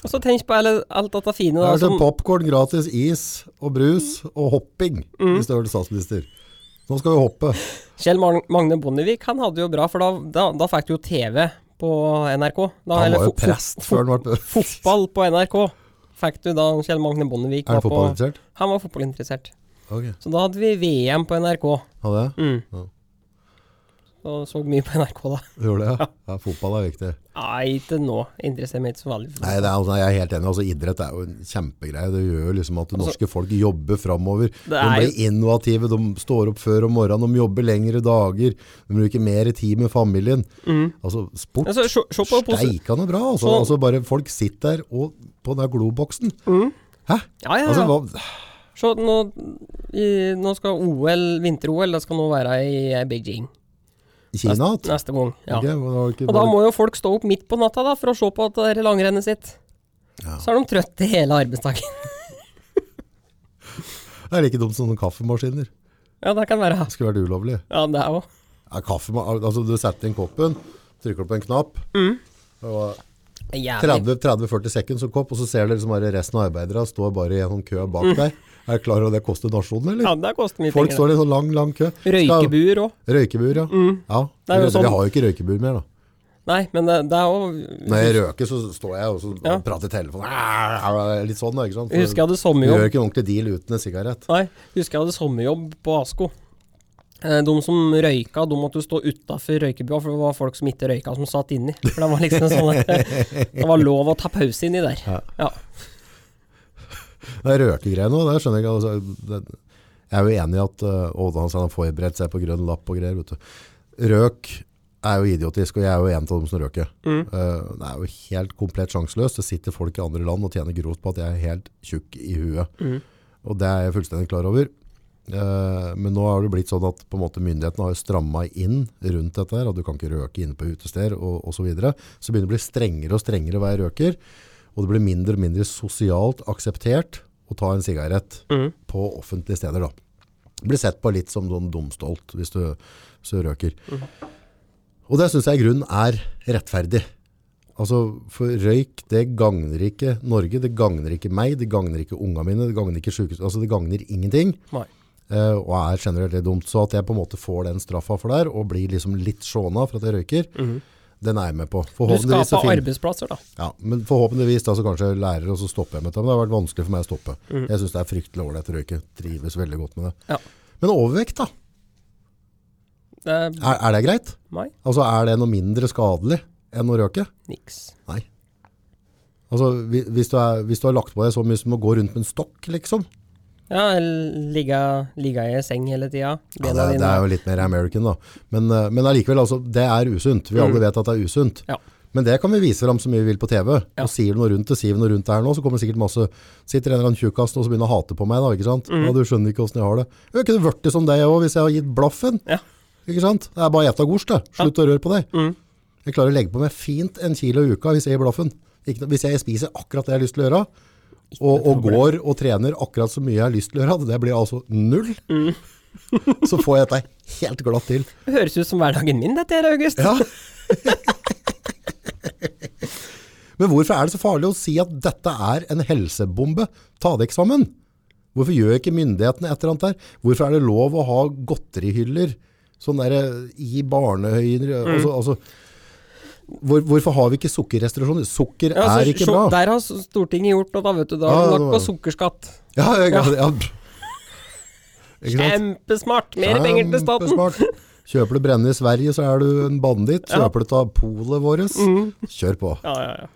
B: Og så tenk på alle- alt dette fine,
A: Det
B: da.
A: er
B: Som,
A: sånn popcorn, gratis is og brus og hopping,
B: Mm.
A: hvis du er statsminister. Nå skal vi hoppe.
B: Kjell Mag- Magne Bondevik, han hadde jo bra, for da, da, da fikk du jo TV på NRK. Da,
A: Han
B: eller
A: var jo
B: fo- fo-
A: prest før han ble
B: Fotball på NRK fikk du da Kjell Magne Bondevik
A: Er han
B: var på-
A: fotballinteressert?
B: Han var fotballinteressert.
A: Ok,
B: Så da hadde vi VM på NRK,
A: hadde jeg?
B: Mm. og så mye på NRK da.
A: Gjorde det? ja? Ja, fotball er viktig.
B: Nei, ikke nå. Interesserer meg ikke så veldig. for det.
A: Nei, det er, altså, jeg er helt enig. Altså, idrett er jo en kjempegreie. Det gjør jo liksom at det norske folk jobber framover. De
B: Altså- er
A: blir innovative, de står opp før om morgenen, de jobber lengre dager, de bruker mer tid med familien. Altså, sport
B: Mm. Altså, se, se på posi-
A: steikende bra. Altså,
B: Så-
A: altså, bare folk sitter der og, på den der globoksen. Hæ?
B: Mm. Ja, ja, ja.
A: Altså, hva,
B: se, nå, i, nå skal OL, vinter-OL, det skal nå være i eh, Beijing
A: Kina?
B: neste, neste gang. Ja.
A: Ok, men det var ikke
B: Og da
A: bare-
B: må jo folk stå opp midt på natta da, for å se på at det er langrennet sitt. Så er de trøtte hele arbeidsdagen. [LAUGHS]
A: Det er like dumt som noen kaffemaskiner.
B: Ja, det kan være.
A: Det skulle vært ulovlig.
B: Ja, det er jo.
A: Ja, kaffe, altså, du setter inn koppen, trykker på en knapp,
B: Mm.
A: og 30-40 seconds som kopp, og så ser dere liksom bare resten av arbeidere står bare i en sånn kø bak deg. Er du klar over det koster nasjonen, eller?
B: Mm. Ja, det koster mye
A: Folk
B: penger.
A: står i en sånn lang, lang kø.
B: det.
A: Skal-
B: Røykebuer òg.
A: Røykebur, ja. ja.
B: Det er jo sånn-
A: Vi har jo ikke røykebur mer, da.
B: Nei, men eh, det, det er jo
A: Når jeg røker, så står jeg og så
B: Ja.
A: prater i telefonen. Litt sånn, da, ikke sant? For
B: Jeg husker jeg hadde
A: du gjør
B: sommerjobb
A: ikke en ordentlig deal uten en sigarett.
B: Nei, jeg husker jeg hadde sommerjobb på Asko. Eh, De som røyka, de måtte jo stå utafor røykebua, for det var folk som ikke røyka, som satt inni. For det var liksom en sånn [LAUGHS] Det var lov å ta pause inni der. Ja.
A: Det er røkegreier nå, det skjønner jeg ikke. Altså, det, jeg er jo enig i at eh, Ådan sa han forberedt seg på grønn lapp og greier. Vet du. Røk er jo idiotisk, og jeg er jo en av dem som røker. Eh, det er jo helt komplett sjanseløst. Det sitter folk i andre land og tjener grovt på at jeg er helt tjukk i huet. Og det er jeg fullstendig klar over. Eh, men nå har det blitt sånn at på en måte myndighetene har jo stramma inn rundt dette her, at du kan ikke røke inne på utesteder og osv. Så, videre. så begynner det å bli strengere og strengere hva jeg røker, og det blir mindre og mindre sosialt akseptert å ta en sigarett på offentlige steder. da. Blir sett på litt som sånn dumstolt hvis du, hvis du røker. Og det syns jeg i grunnen er rettferdig. Altså, for røyk, det gagner ikke Norge, det gagner ikke meg, det gagner ikke unga mine, det gagner ikke sykehus, altså det gagner ingenting,
B: Nei.
A: eh, og er generelt litt dumt. Så at jeg på en måte får den straffa for der, og blir liksom litt sjåna for at jeg røyker, den er jeg med på.
B: Mhm. Du
A: Forhåpentligvis så
B: skaper
A: fin-
B: arbeidsplasser, da.
A: ja, men forhåpentligvis da så kanskje jeg lærer, og så stopper jeg med det. Men det har vært vanskelig for meg å stoppe. Jeg syns det er fryktelig ålreit å røyke. Trives veldig godt med det.
B: Mhm. Ja.
A: Men overvekt, da.
B: Det er
A: Er, er det greit?
B: meg.
A: Altså, er det noe mindre skadelig enn å røyke?
B: Niks.
A: Nei. Altså, hvi- hvis du, er, hvis du har lagt på deg så mye som å gå rundt med en stokk, liksom.
B: Ja, ligga, ligga i seng hele tida.
A: Ja, det, er- det er jo litt mer American, da. Men, eh, men allikevel, altså, det er usunt. Vi alle vet at det er usunt.
B: Ja.
A: Men det kan vi vise fram så mye vi vil på TV.
B: Ja.
A: Og sier du noe rundt det, sier vi noe rundt det her nå, så kommer sikkert masse Sitter en eller annen tjukkasten og så begynner å hate på meg, da, ikke sant? Ja, du skjønner ikke åssen jeg har det. Jeg kunne vært som deg òg hvis jeg hadde gitt blaffen.
B: Ja.
A: Ikke sant? Det er bare ett agurk, det. Slutt å røre på deg. Jeg klarer å legge på meg fint en kilo i uka hvis jeg gir blaffen. Ikke, noe- hvis jeg spiser akkurat det jeg har lyst til å gjøre, og, og går og trener akkurat så mye jeg har lyst til å gjøre, det blir altså null, [LAUGHS] så får jeg dette helt glatt til.
B: Det høres ut som hverdagen min, dette her, August. [LAUGHS]
A: Ja. Men hvorfor er det så farlig å si at dette er en helsebombe? Ta det ikke sammen. Hvorfor gjør ikke myndighetene et eller annet der? Hvorfor er det lov å ha godterihyller sånn der, eh, i barnehøyder?
B: Mm.
A: Altså, altså, hvor, hvorfor har vi ikke sukkerrestriksjoner? Sukker
B: Ja, altså,
A: er ikke
B: så-
A: bra.
B: Der har Stortinget gjort noe, da, vet du. Da
A: Ja,
B: har
A: det
B: du lagt
A: var-
B: på sukkerskatt.
A: Ja, ja, ja. Ikke sant?
B: Kjempesmart! Mer penger til staten.
A: Kjempesmart. Kjøper du brennende i Sverige, så er du en banditt. Kjøper du av polet vårt,
B: Mm.
A: kjør på.
B: Ja, ja, ja.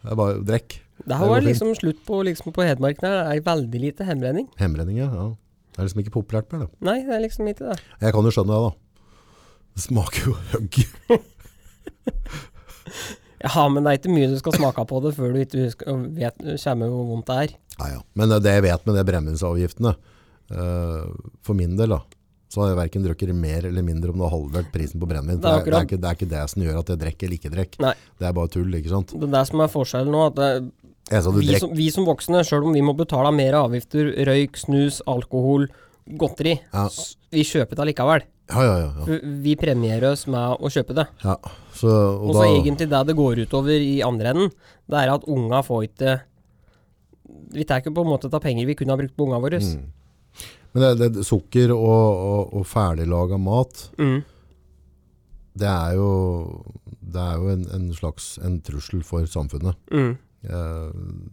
A: Det er bare drekk.
B: Det her
A: Det
B: var
A: går fint.
B: liksom slutt på, liksom på Hedmark. Der er det veldig lite hemrenning.
A: Hemrenning, ja. ja. Det er liksom ikke populært mer, det.
B: Nei, det er liksom ikke det.
A: Jeg kan jo skjønne det, da. Det smaker jo [LAUGHS] høgg.
B: Ja, men det er ikke mye du skal smake på det før du ikke husker, og vet, kommer hvor vondt det er.
A: Nei, ja. Men det jeg vet med det brennevinsavgiftene, eh, for min del, da, så har jeg verken drukket mer eller mindre om det har halvert prisen på brennevin.
B: Det
A: Det,
B: er
A: er- det, er
B: akkurat.
A: ikke- det er ikke det som gjør at jeg drikker eller ikke drikker.
B: Nei.
A: Det er bare tull, ikke sant?
B: Det er det som er forskjellen nå. At det,
A: Jeg sa du
B: vi,
A: drekk
B: som, vi som voksne, sjøl om vi må betale mer avgifter, røyk, snus, alkohol, godteri,
A: Ja.
B: s- vi kjøper det allikevel.
A: Ja, ja, ja. ja.
B: For Vi premierer oss med å kjøpe det.
A: ja. Så, og
B: Og så egentlig det det går utover i andre enden, det er at unga får ikke Vi tar ikke på en måte ta penger vi kunne ha brukt på unga våre.
A: Mm. Men det, det, sukker og, og, og ferdiglaga mat,
B: Mm.
A: det er jo, det er jo en, en slags en trussel for samfunnet.
B: Mm.
A: Eh,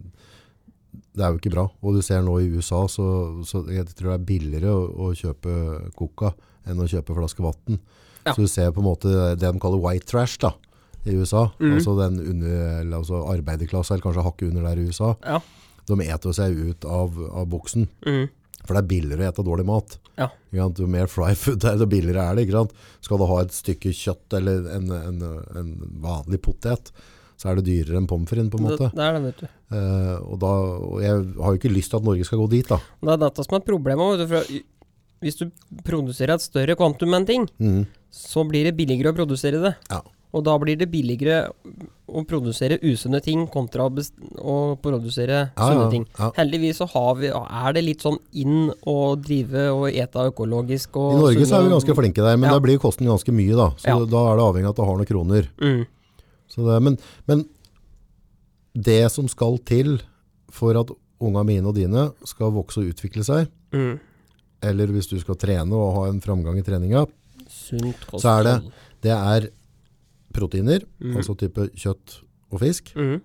A: Det er jo ikke bra. Og du ser nå i USA, så, så jeg tror det er billigere å, å kjøpe coca enn å kjøpe flaske vann.
B: Ja.
A: Så du ser på en måte det de kaller white trash da, i USA. Altså den under, eller altså arbeiderklassa, eller kanskje hakket under der i USA.
B: Ja.
A: De eter seg ut av, av buksen.
B: Mm.
A: For det er billigere å ete dårlig mat.
B: Ja.
A: Ikke sant? Jo mer fry food det er, jo billigere er det. Ikke sant? Skal du ha et stykke kjøtt eller en, en, en vanlig potet, så er det dyrere enn pommes frites, på en
B: Det,
A: måte.
B: det er det, vet du.
A: Eh, og, da, og jeg har jo ikke lyst til at Norge skal gå dit, da.
B: Det er dette som er problemet. Vet du, for i- hvis du produserer et større kvantum enn ting,
A: Mm.
B: så blir det billigere å produsere det.
A: Ja.
B: Og da blir det billigere å produsere usunne ting kontra å best- å produsere
A: Ja,
B: sunne
A: ja,
B: ting.
A: ja.
B: Heldigvis så har vi, er det litt sånn inn å drive og ete økologisk og
A: I Norge så er
B: sunne-
A: vi ganske flinke der, men
B: Ja.
A: da blir kosten ganske mye, da. Så
B: Ja.
A: da er det avhengig av at du har noen kroner.
B: Mm.
A: Så det, men, men det som skal til for at unga mine og dine skal vokse og utvikle seg,
B: Mm.
A: eller hvis du skal trene og ha en framgang i treninga,
B: Sunt kosthold.
A: så er det, det er proteiner,
B: Mm.
A: altså type kjøtt og fisk.
B: Mhm.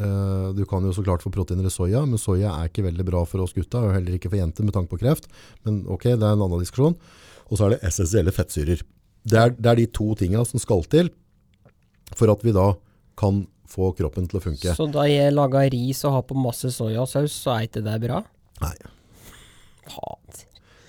A: Eh, Du kan jo så klart få proteiner i soya, men soya er ikke veldig bra for oss gutta, og heller ikke for jenter med tanke på kreft. Men ok, det er en annen diskusjon. Og så er det essensielle fettsyrer. Det er, det er de to tingene som skal til for at vi da kan få kroppen til å funke.
B: Så da jeg laga ris og har på masse soyasaus, så er ikke det bra?
A: Nei.
B: Faen.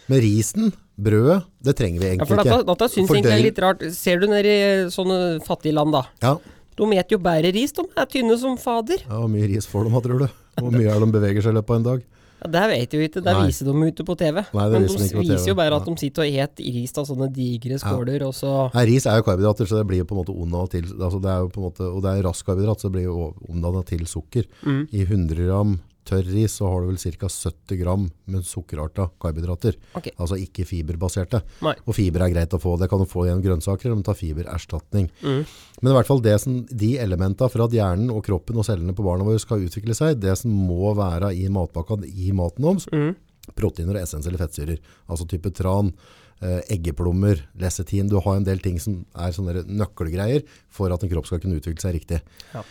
A: Men risen, brødet, det trenger vi
B: Ja, for
A: egentlig
B: dette,
A: ikke.
B: dette syns jeg egentlig er litt rart. Ser du ned i eh, sånne fattige land, da.
A: Ja,
B: De eter jo bare ris, de er tynne som fader.
A: ja, hvor mye ris får de, da, tror du? Hvor mye er det de beveger seg i løpet av en dag?
B: Ja, det vet vi jo ikke, det
A: Nei.
B: viser de ute på TV.
A: Nei, det
B: Men
A: viser
B: de
A: de
B: viser,
A: ikke på TV.
B: jo bare at de sitter og et ris av sånne digre skåler, og så
A: Nei, ris er jo karbohydrater, så det blir jo på en måte omdannet til altså det er jo på en måte, Og det er rask karbohydrat, så det blir jo omdannet til sukker.
B: Mm.
A: I 100 gram tørr ris så har du vel ca. 70 gram med sukkerarta karbohydrater.
B: Ok.
A: Altså ikke fiberbaserte.
B: Nei.
A: Og fiber er greit å få. Det kan du få gjennom grønnsaker, om du tar fibererstatning.
B: Mm.
A: Men i hvert fall det som, de elementene for at hjernen og kroppen og cellene på barna våre skal utvikle seg, det som må være i matpakka i maten deres,
B: Mm.
A: proteiner og essensielle fettsyrer, altså type tran, eh, eggeplommer, lesetin. Du har en del ting som er sånne der nøkkelgreier for at en kropp skal kunne utvikle seg riktig.
B: Ja.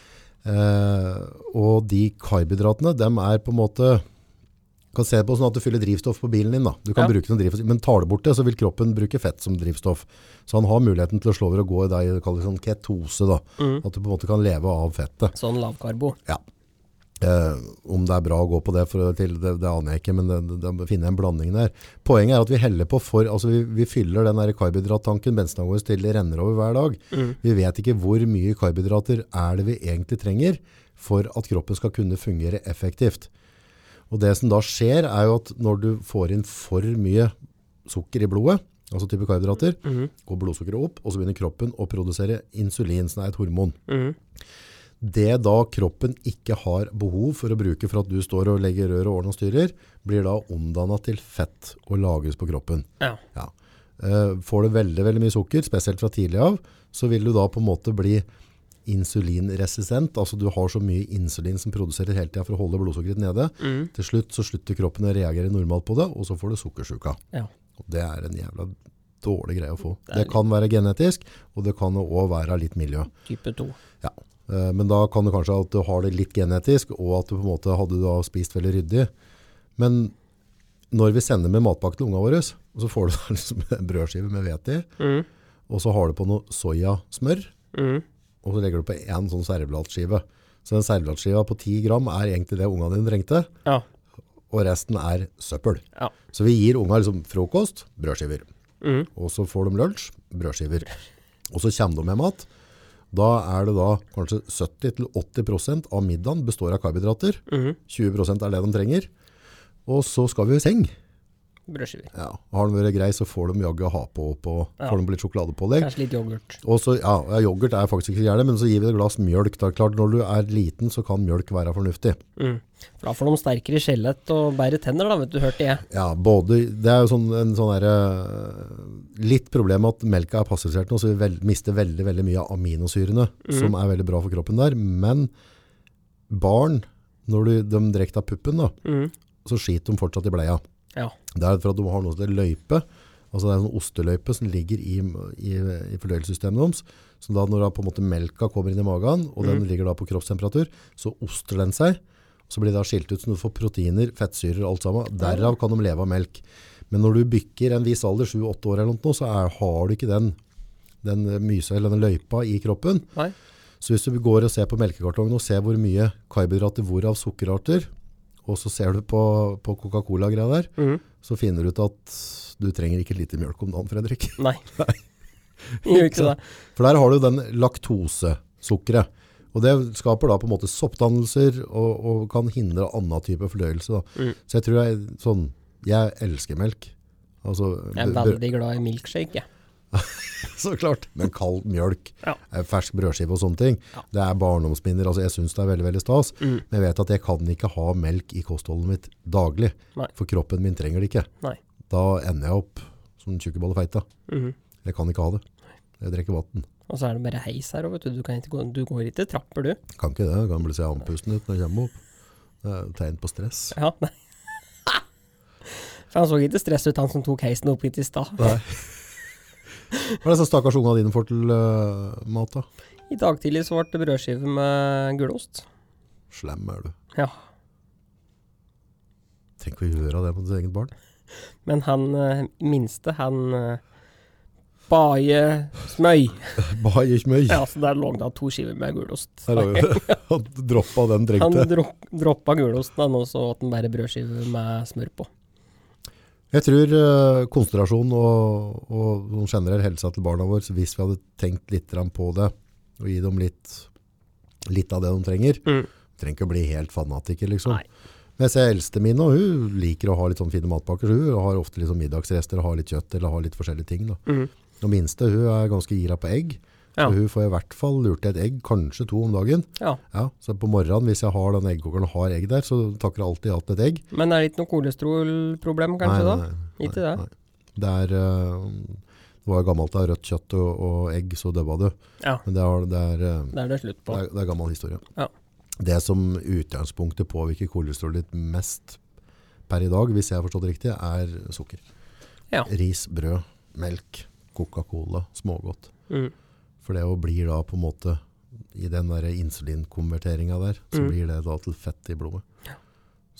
A: Eh, og de karbohydratene, dem er på en måte kan se det på sånn at du fyller drivstoff på bilen din. Da. Du kan
B: Ja.
A: bruke noe drivstoff, men tar du bort det, så vil kroppen bruke fett som drivstoff. Så han har muligheten til å slå over og gå i det jeg kaller sånn ketose. Da.
B: Mm.
A: At du på en måte kan leve av fettet.
B: sånn lavkarbo.
A: Ja. Eh, om det er bra å gå på det, for, til, det, det aner jeg ikke, men det, det, det må finne en blanding der. Poenget er at vi heller på for, altså vi, vi fyller den der karbohydrattanken bensina vår til det renner over hver dag. Vi vet ikke hvor mye karbohydrater er det vi egentlig trenger for at kroppen skal kunne fungere effektivt. Og det som da skjer er jo at når du får inn for mye sukker i blodet, altså type karbohydrater, går blodsukkeret opp, og så begynner kroppen å produsere insulin, som er et hormon. Det da kroppen ikke har behov for å bruke for at du står og legger rør og ordner og styrer, blir da omdannet til fett og lages på kroppen.
B: Ja.
A: Ja. Eh, Får du veldig, veldig mye sukker, spesielt fra tidlig av, så vil du da på en måte bli insulinresistent, altså du har så mye insulin som produserer hele tiden for å holde blodsukkeret nede. Til slutt så slutter kroppen å reagere normalt på det, og så får du sukkersyka.
B: ja.
A: Og det er en jævla dårlig greie å få. Det kan være genetisk, og det kan jo også være litt miljø.
B: Type 2.
A: Ja. Eh, Men da kan det kanskje at du har det litt genetisk, og at du på en måte hadde da spist veldig ryddig. Men når vi sender med matpakke til ungene våre, og så får du [LAUGHS] da liksom en brødskive med hvete i, og så har du på noe sojasmør, og så legger du på en sånn servelatskive. Så den servelatskiva på 10 gram er egentlig det ungene dine trengte,
B: Ja.
A: og resten er søppel.
B: ja.
A: Så vi gir unga liksom frokost, brødskiver. Og så får de lunsj, brødskiver. Og så kommer de med mat. Da er det da kanskje 70-80 av middagen består av karbohydrater. 20 er det de trenger. Og så skal vi i seng.
B: Brødskiver.
A: Ja. Har de vært grei, så får de jaggu ha på, på, får de litt sjokoladepålegg.
B: Kanskje litt yoghurt.
A: Og så, ja, ja, yoghurt er faktisk ikke så gjerne, men så gir vi et glass mjølk. Da. Klart, når du er liten, så kan mjølk være fornuftig.
B: For Da får de sterkere skjelett og bedre tenner, da, vet du, hørte jeg.
A: Ja, både, det er jo sånn, en sånn der, eh, litt problem at melka er passivisert nå, så vi vel, mister veldig, veldig mye av aminosyrene, som er veldig bra for kroppen der. Men barn, når du, de drekker av puppen, da, så skiter de fortsatt i bleia.
B: Mm. Ja.
A: Det er for at de har noe som heter løype, altså det er en sånn osteløype som ligger i, i, i fordøyelsessystemet deres, så da når da på en måte melka kommer inn i magen, og den ligger da på kroppstemperatur, så oster den seg, så blir det da skilt ut, så du får proteiner, fettsyrer og alt sammen, derav kan de leve av melk. Men når du bykker en viss alder, 7-8 år eller noe, så er, har du ikke den, den mysa eller den løypa i kroppen,
B: Nei.
A: så hvis du går og ser på melkekartongen og ser hvor mye karbohydrater, hvorav sukkerarter, og så ser du på, på Coca-Cola-greia der, så finner du ut at du trenger ikke lite mjølk om dagen, Fredrik. [LAUGHS]
B: Nei. Gjør ikke det.
A: For der har du den laktosesukkeret. Og det skaper da på en måte soppdannelser og, og kan hindre annen type fordøyelse. Da. Så jeg tror jeg, sånn, jeg elsker melk. Altså,
B: Jeg er
A: br- br-
B: veldig glad i milkshake, jeg. [LAUGHS]
A: Så klart. Men kald mjølk,
B: Ja.
A: eh, fersk brødskive og sånne ting, det er barndomsminner. Altså, jeg syns det er veldig veldig stas,
B: Mm.
A: men jeg vet at jeg kan ikke ha melk i kostholdet mitt daglig.
B: Nei.
A: For kroppen min trenger det ikke.
B: Nei.
A: Da ender jeg opp som tjukkeballefeita.
B: Mm.
A: Jeg kan ikke ha det. Jeg drikker vann.
B: Og så er det bare heis her òg, vet du. Du, kan ikke gå, du går ikke trapper, du.
A: Kan ikke det. Jeg kan bli så andpusten ut når jeg kommer opp. Det er jo tegn på stress.
B: Ja, nei. [LAUGHS] For han så ikke stress ut, han som tok heisen opp hit i stad.
A: Hva er det så stakkars unga dine får til uh, mat, da?
B: I dag tidlig så ble det brødskive med gulost.
A: Slem er du.
B: Ja.
A: Tenk å gjøre det mot ditt eget barn.
B: Men han eh, minste, han eh, Baje smøy.
A: Bare ikke mye.
B: Ja, så der lå det to skiver med gulost.
A: Der har vi det. [LAUGHS] Han droppa den
B: Han
A: trengte.
B: dro droppa gulosten, han, og så åt han bare brødskive med smør på.
A: Jeg tror eh, konsentrasjon og, og sånn generell helse til barna våre, så hvis vi hadde tenkt litt grann på det, og gi dem litt, litt av det de trenger,
B: Mm.
A: trenger ikke å bli helt fanatiker, liksom.
B: Nei.
A: Men jeg ser eldste mine, og hun liker å ha litt sånn fine matpakker, så hun har ofte liksom middagsrester og har litt kjøtt eller har litt forskjellige ting. Da.
B: mm.
A: Og minste, hun er ganske gira på egg,
B: Ja.
A: så hun får i hvert fall lurt til et egg, kanskje to om dagen.
B: Ja.
A: Ja, så på morgenen, hvis jeg har den eggkokeren og har egg der, så takker jeg alltid alt et egg.
B: Men er det ikke noe kolesterolproblem, kanskje, da? Ikke det?
A: Nei. Det er... eh, det var gammelt da, rødt kjøtt og, og egg, så døbba du.
B: Ja,
A: Men det er, det er eh,
B: det er det slutt på.
A: Det er, det er gammel historie.
B: Ja.
A: Det som utgangspunktet påvirker kolesterolet ditt mest per i dag, hvis jeg har forstått det riktig, er sukker.
B: Ja.
A: Ris, brød, melk, Coca-Cola, smågodt.
B: Mm.
A: For det jo blir da på en måte, i den der insulinkonverteringa der, så
B: Mm.
A: blir det da til fett i blodet.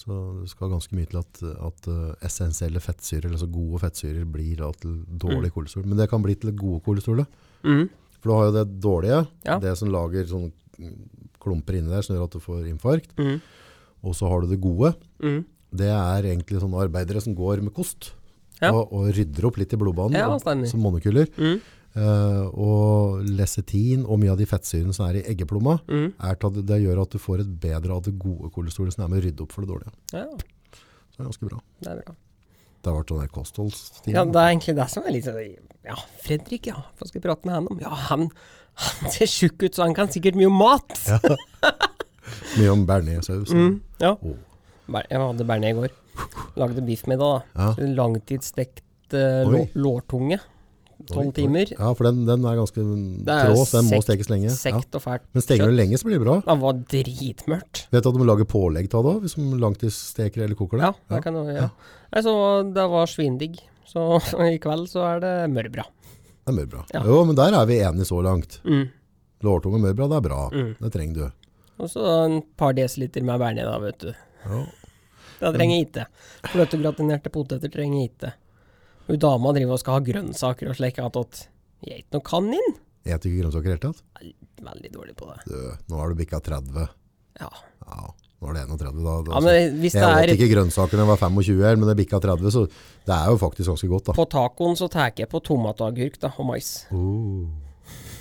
A: Så det skal ganske mye til at, at eh, essensielle fettsyrer, altså gode fettsyrer, blir da til dårlig kolesterol. Men det kan bli til det gode kolesterolet.
B: Mm.
A: For du har jo det dårlige,
B: Ja.
A: det som lager sånne klumper inni der som gjør at du får infarkt.
B: Mm.
A: Og så har du det gode.
B: Mm.
A: Det er egentlig sånne arbeidere som går med kost
B: Ja.
A: og, og rydder opp litt i blodbanen
B: Ja,
A: og-
B: stemmer.
A: som monokuler.
B: Mm.
A: Eh, og lesetin og mye av de fettsyrene som er i eggeplomma,
B: Mm.
A: er til at det gjør at du får et bedre av det gode kolesterolet som er med å rydde opp for det dårlige.
B: Ja,
A: Så det er ganske bra.
B: det er bra.
A: Det har vært sånn der kostholdstid.
B: Ja, det er egentlig det som er litt sånn Ja, Fredrik, ja. Hva skal jeg prate med han om? Ja, han, han ser tjukk ut, så han kan sikkert mye om mat. Ja.
A: Mye om bearnéssaus. Mm.
B: ja. Ber- Jeg hadde bearnés i går. Lagde biffmiddag, da.
A: Ja.
B: Langtidsstekt eh, lå-
A: Oi.
B: lårtunge. Tolv timer.
A: sånn. Ja, for den, den er ganske
B: Det er
A: trås, den må
B: sekt-
A: stekes lenge. Ja.
B: Sekt og fælt.
A: Men steker du lenge, så blir det bra.
B: Det var dritmørkt.
A: Vet du at de lager pålegg til det òg, hvis de langtidssteker eller koker det?
B: Ja, det kan du ja. Nei, så det var svindigg. Så [LAUGHS] i kveld så er det mørbra.
A: Det er mørbra.
B: Ja.
A: Jo, men der er vi enige så langt.
B: Mm.
A: Lårtunge og mørbra, det er bra. Det trenger du.
B: Og så en par desiliter med bearnés, da, vet du.
A: Ja.
B: Det trenger jeg ikke. Fløtegratinerte poteter trenger jeg ikke. Hun dama driver og skal ha grønnsaker og slik attåt. Jeg er ikke noe kanin.
A: Et ikke grønnsaker i det hele tatt?
B: Jeg er Veldig dårlig på det.
A: Du, nå er du bikka 30.
B: Ja.
A: Ja, nå er det 31 da. da
B: ja men hvis det
A: jeg åt
B: er
A: ikke grønnsaker da jeg var 25 her, men jeg bikka 30, så det er jo faktisk ganske godt, da.
B: på tacoen, så tar jeg på tomat og agurk da, og mais.
A: Oh,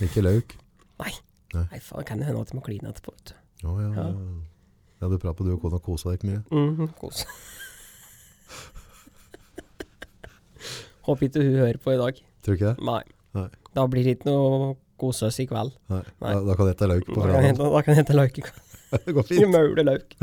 A: ikke løk.
B: Nei.
A: Nei.
B: Nei, faen, kan det hende at jeg må kline etterpå, vet du.
A: Å ja. ja. Ja, du prater på du og kona kosa deg ikke mye.
B: Mhm, Kos. [LAUGHS] Håper ikke hun hører på i dag.
A: Tror du ikke det?
B: Nei.
A: Nei.
B: Da blir det ikke noe kosøs i kveld.
A: Nei.
B: Nei.
A: Da, da kan jeg ta løk på
B: Da kan jeg- [LAUGHS]
A: fredag.
B: da kan jeg hete løk i kveld.
A: Det går
B: Ikke
A: fint.
B: maule
A: [LAUGHS]
B: løk.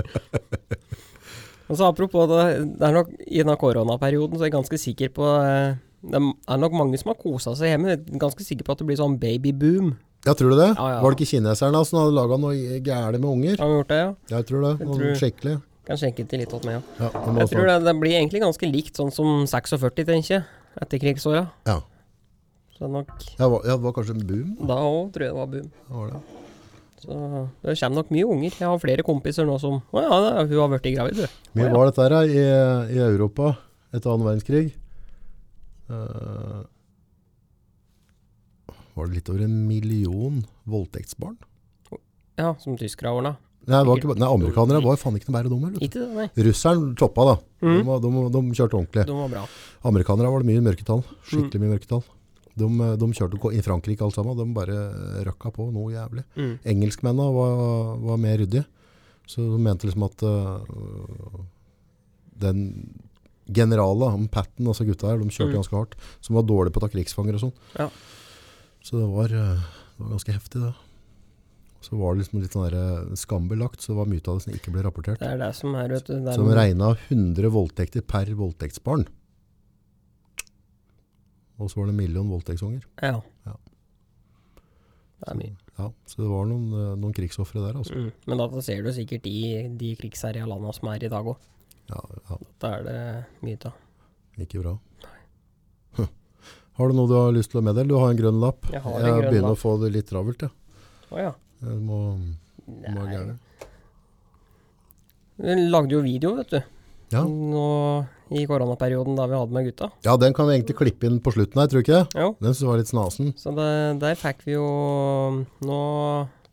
B: Og så apropos det, det er nok i denne koronaperioden så er jeg ganske sikker på eh, Det er nok mange som har kosa seg hjemme. Jeg er Ganske sikker på at det blir sånn babyboom.
A: Ja, tror du det?
B: Ja, ja.
A: Var det ikke kineseren da som hadde laga noe gærent med unger?
B: Har vi gjort det, ja?
A: Jeg tror det. Noen
B: tror-
A: skikkelig.
B: Kan skjenke til litt til meg òg.
A: Ja, det må sånn.
B: Jeg tror
A: snart-
B: det, det blir egentlig ganske likt sånn som 46, tenker jeg. Etterkrigsåra.
A: Ja.
B: Så det er nok
A: Ja, det var, ja, det var kanskje en boom.
B: da òg, tror jeg det var boom.
A: da Var det.
B: Så det kommer nok mye unger. Jeg har flere kompiser nå som Å ja, da, hun har blitt gravid, du.
A: Mye
B: Å ja.
A: var dette her da, i, i Europa etter annen verdenskrig. Eh, var det litt over en million voldtektsbarn?
B: Ja, som tyskere har ordna.
A: Nei, det var ikke, bare- nei amerikanere var jo faen ikke noe bedre dumme. vet
B: Ikke det, nei.
A: du. Russeren toppa da. De, var- de, de kjørte ordentlig.
B: Mm. De Mm. var bra.
A: Amerikanere var det mye mørketall. Skikkelig mye mørketall. De, eh, de kjørte ko- i Frankrike alt sammen. De bare røkka på noe jævlig.
B: Mm.
A: Engelskmennene var, var mer ryddige. Så de mente liksom at øh, den generala, han Patton, altså gutta her, de kjørte ganske hardt. Som var dårlige på å ta krigsfanger og sånn.
B: Mm. Ja.
A: Så det var, øh, det var ganske heftig, det. Så var det liksom litt sånn der, øh, skambelagt, så det var mye av det som ikke ble rapportert.
B: Det er det som er, vet du. Det er
A: Så de regna 100 voldtekter per voldtektsbarn. Og så var det en million voldtektsunger.
B: Ja.
A: Ja.
B: Det er mye.
A: Ja, så det var noen, øh, noen krigsofre der, altså.
B: Mm. Men da ser du sikkert de, de krigsherja landa som er i dag òg.
A: Ja, ja.
B: Da er det mye av.
A: Ikke bra. Hm. [LAUGHS] Har du noe du har lyst til å meddele? Du har en grønn lapp.
B: Jeg har en grønn
A: begynner
B: lapp.
A: å få det litt travelt, ja.
B: Å ja.
A: Jeg må, må
B: Nei.
A: gjerne.
B: Vi lagde jo video, vet du.
A: Ja.
B: Nå i koronaperioden da vi hadde med gutta.
A: ja, den kan vi egentlig klippe inn på slutten her, tror du ikke?
B: Jo.
A: Den synes jeg var litt snasen.
B: Så det, der fikk vi jo nå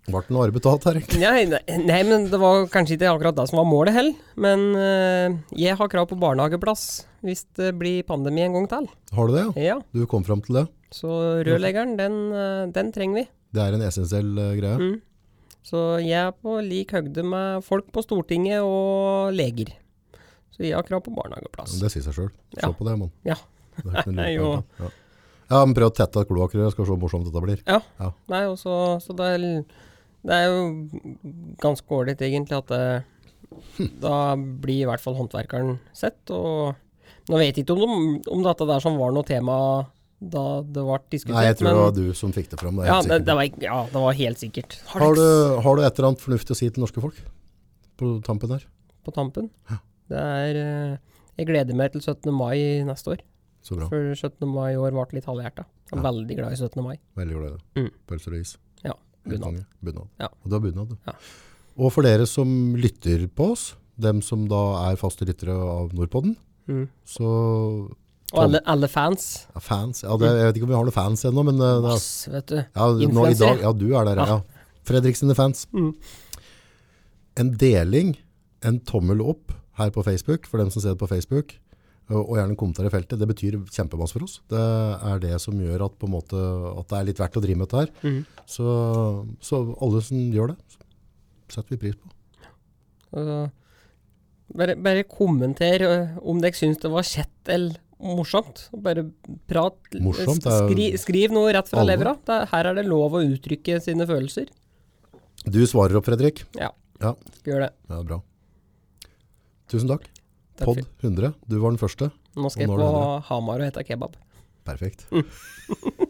A: Ble det noe arbeid tatt her, egentlig?
B: nei, nei, nei, men det var kanskje ikke akkurat det som var målet heller. Men eh, jeg har krav på barnehageplass hvis det blir pandemi en gang til.
A: Har du det, ja?
B: Ja,
A: Du kom frem til det.
B: Så rørleggeren, den, eh, den trenger vi.
A: Det er en essensiell eh,
B: Mm.
A: greie.
B: Så jeg er på lik høgde med folk på Stortinget og leger. Så jeg har krav på barnehageplass.
A: Det sier seg sjøl. Se
B: Ja.
A: på det, mann.
B: Ja.
A: Det er ikke
B: [LAUGHS]
A: noe
B: Nei,
A: lurt
B: jo.
A: på dette. Ja. ja, men prøv å tette kloakkrøret, skal vi se hvor morsomt dette blir.
B: ja.
A: Ja.
B: Nei, og så- så det er, det er jo ganske ålreit, egentlig, at det,
A: Hm.
B: da blir i hvert fall håndverkeren sett. Og nå vet jeg ikke om, de, om dette der som var noe tema da det ble diskutert.
A: Nei, jeg tror
B: men,
A: det var du som fikk det fram. Det er jeg
B: ja,
A: helt
B: det,
A: sikker
B: det
A: på.
B: var, ikke- ja, det var helt sikkert. Har,
A: har,
B: du
A: du, har du et eller annet fornuftig å si til norske folk på tampen her?
B: på tampen? Det er eh, Jeg gleder meg til 17. mai neste år.
A: Så bra.
B: For 17. mai i år ble litt halvhjerta. Jeg er veldig glad i 17. mai.
A: Veldig glad i det.
B: Mm.
A: Pølser og is.
B: Ja. Bunad.
A: Bunad. bunad.
B: Ja.
A: Og du har bunad, du.
B: Ja.
A: Og for dere som lytter på oss, dem som da er faste lyttere av Nordpodden,
B: Mm.
A: så
B: Og alle, alle fans.
A: ja, fans ja, det, Jeg vet ikke om vi har noen fans ennå, men eh, det er,
B: Masse, vet du.
A: ja, nå, i
B: influensere.
A: dag, ja, du er der, ja. Fredrik sine fans.
B: Mm.
A: En deling, en tommel opp her på Facebook, for dem som ser det på Facebook, og og gjerne en kommentar i feltet, det betyr kjempemasse for oss. Det er det som gjør at, på en måte, at det er litt verdt å drive med dette her.
B: Mm.
A: Så, så alle som gjør det, setter vi pris på.
B: Altså, bare, bare kommenter ø, om dere syns det var kjett eller morsomt. Og Bare prat. l-
A: Morsomt
B: sk-
A: er jo-
B: skri, skriv noe rett fra
A: Alle.
B: levra. Det er- Her er det lov å uttrykke sine følelser.
A: Du svarer opp, Fredrik.
B: Ja,
A: Ja,
B: skal gjøre det.
A: det er bra. Tusen takk.
B: Takk
A: Pod 100, du var den første.
B: Nå skal jeg
A: Og
B: på
A: når er
B: Hamar og hete kebab.
A: Perfekt.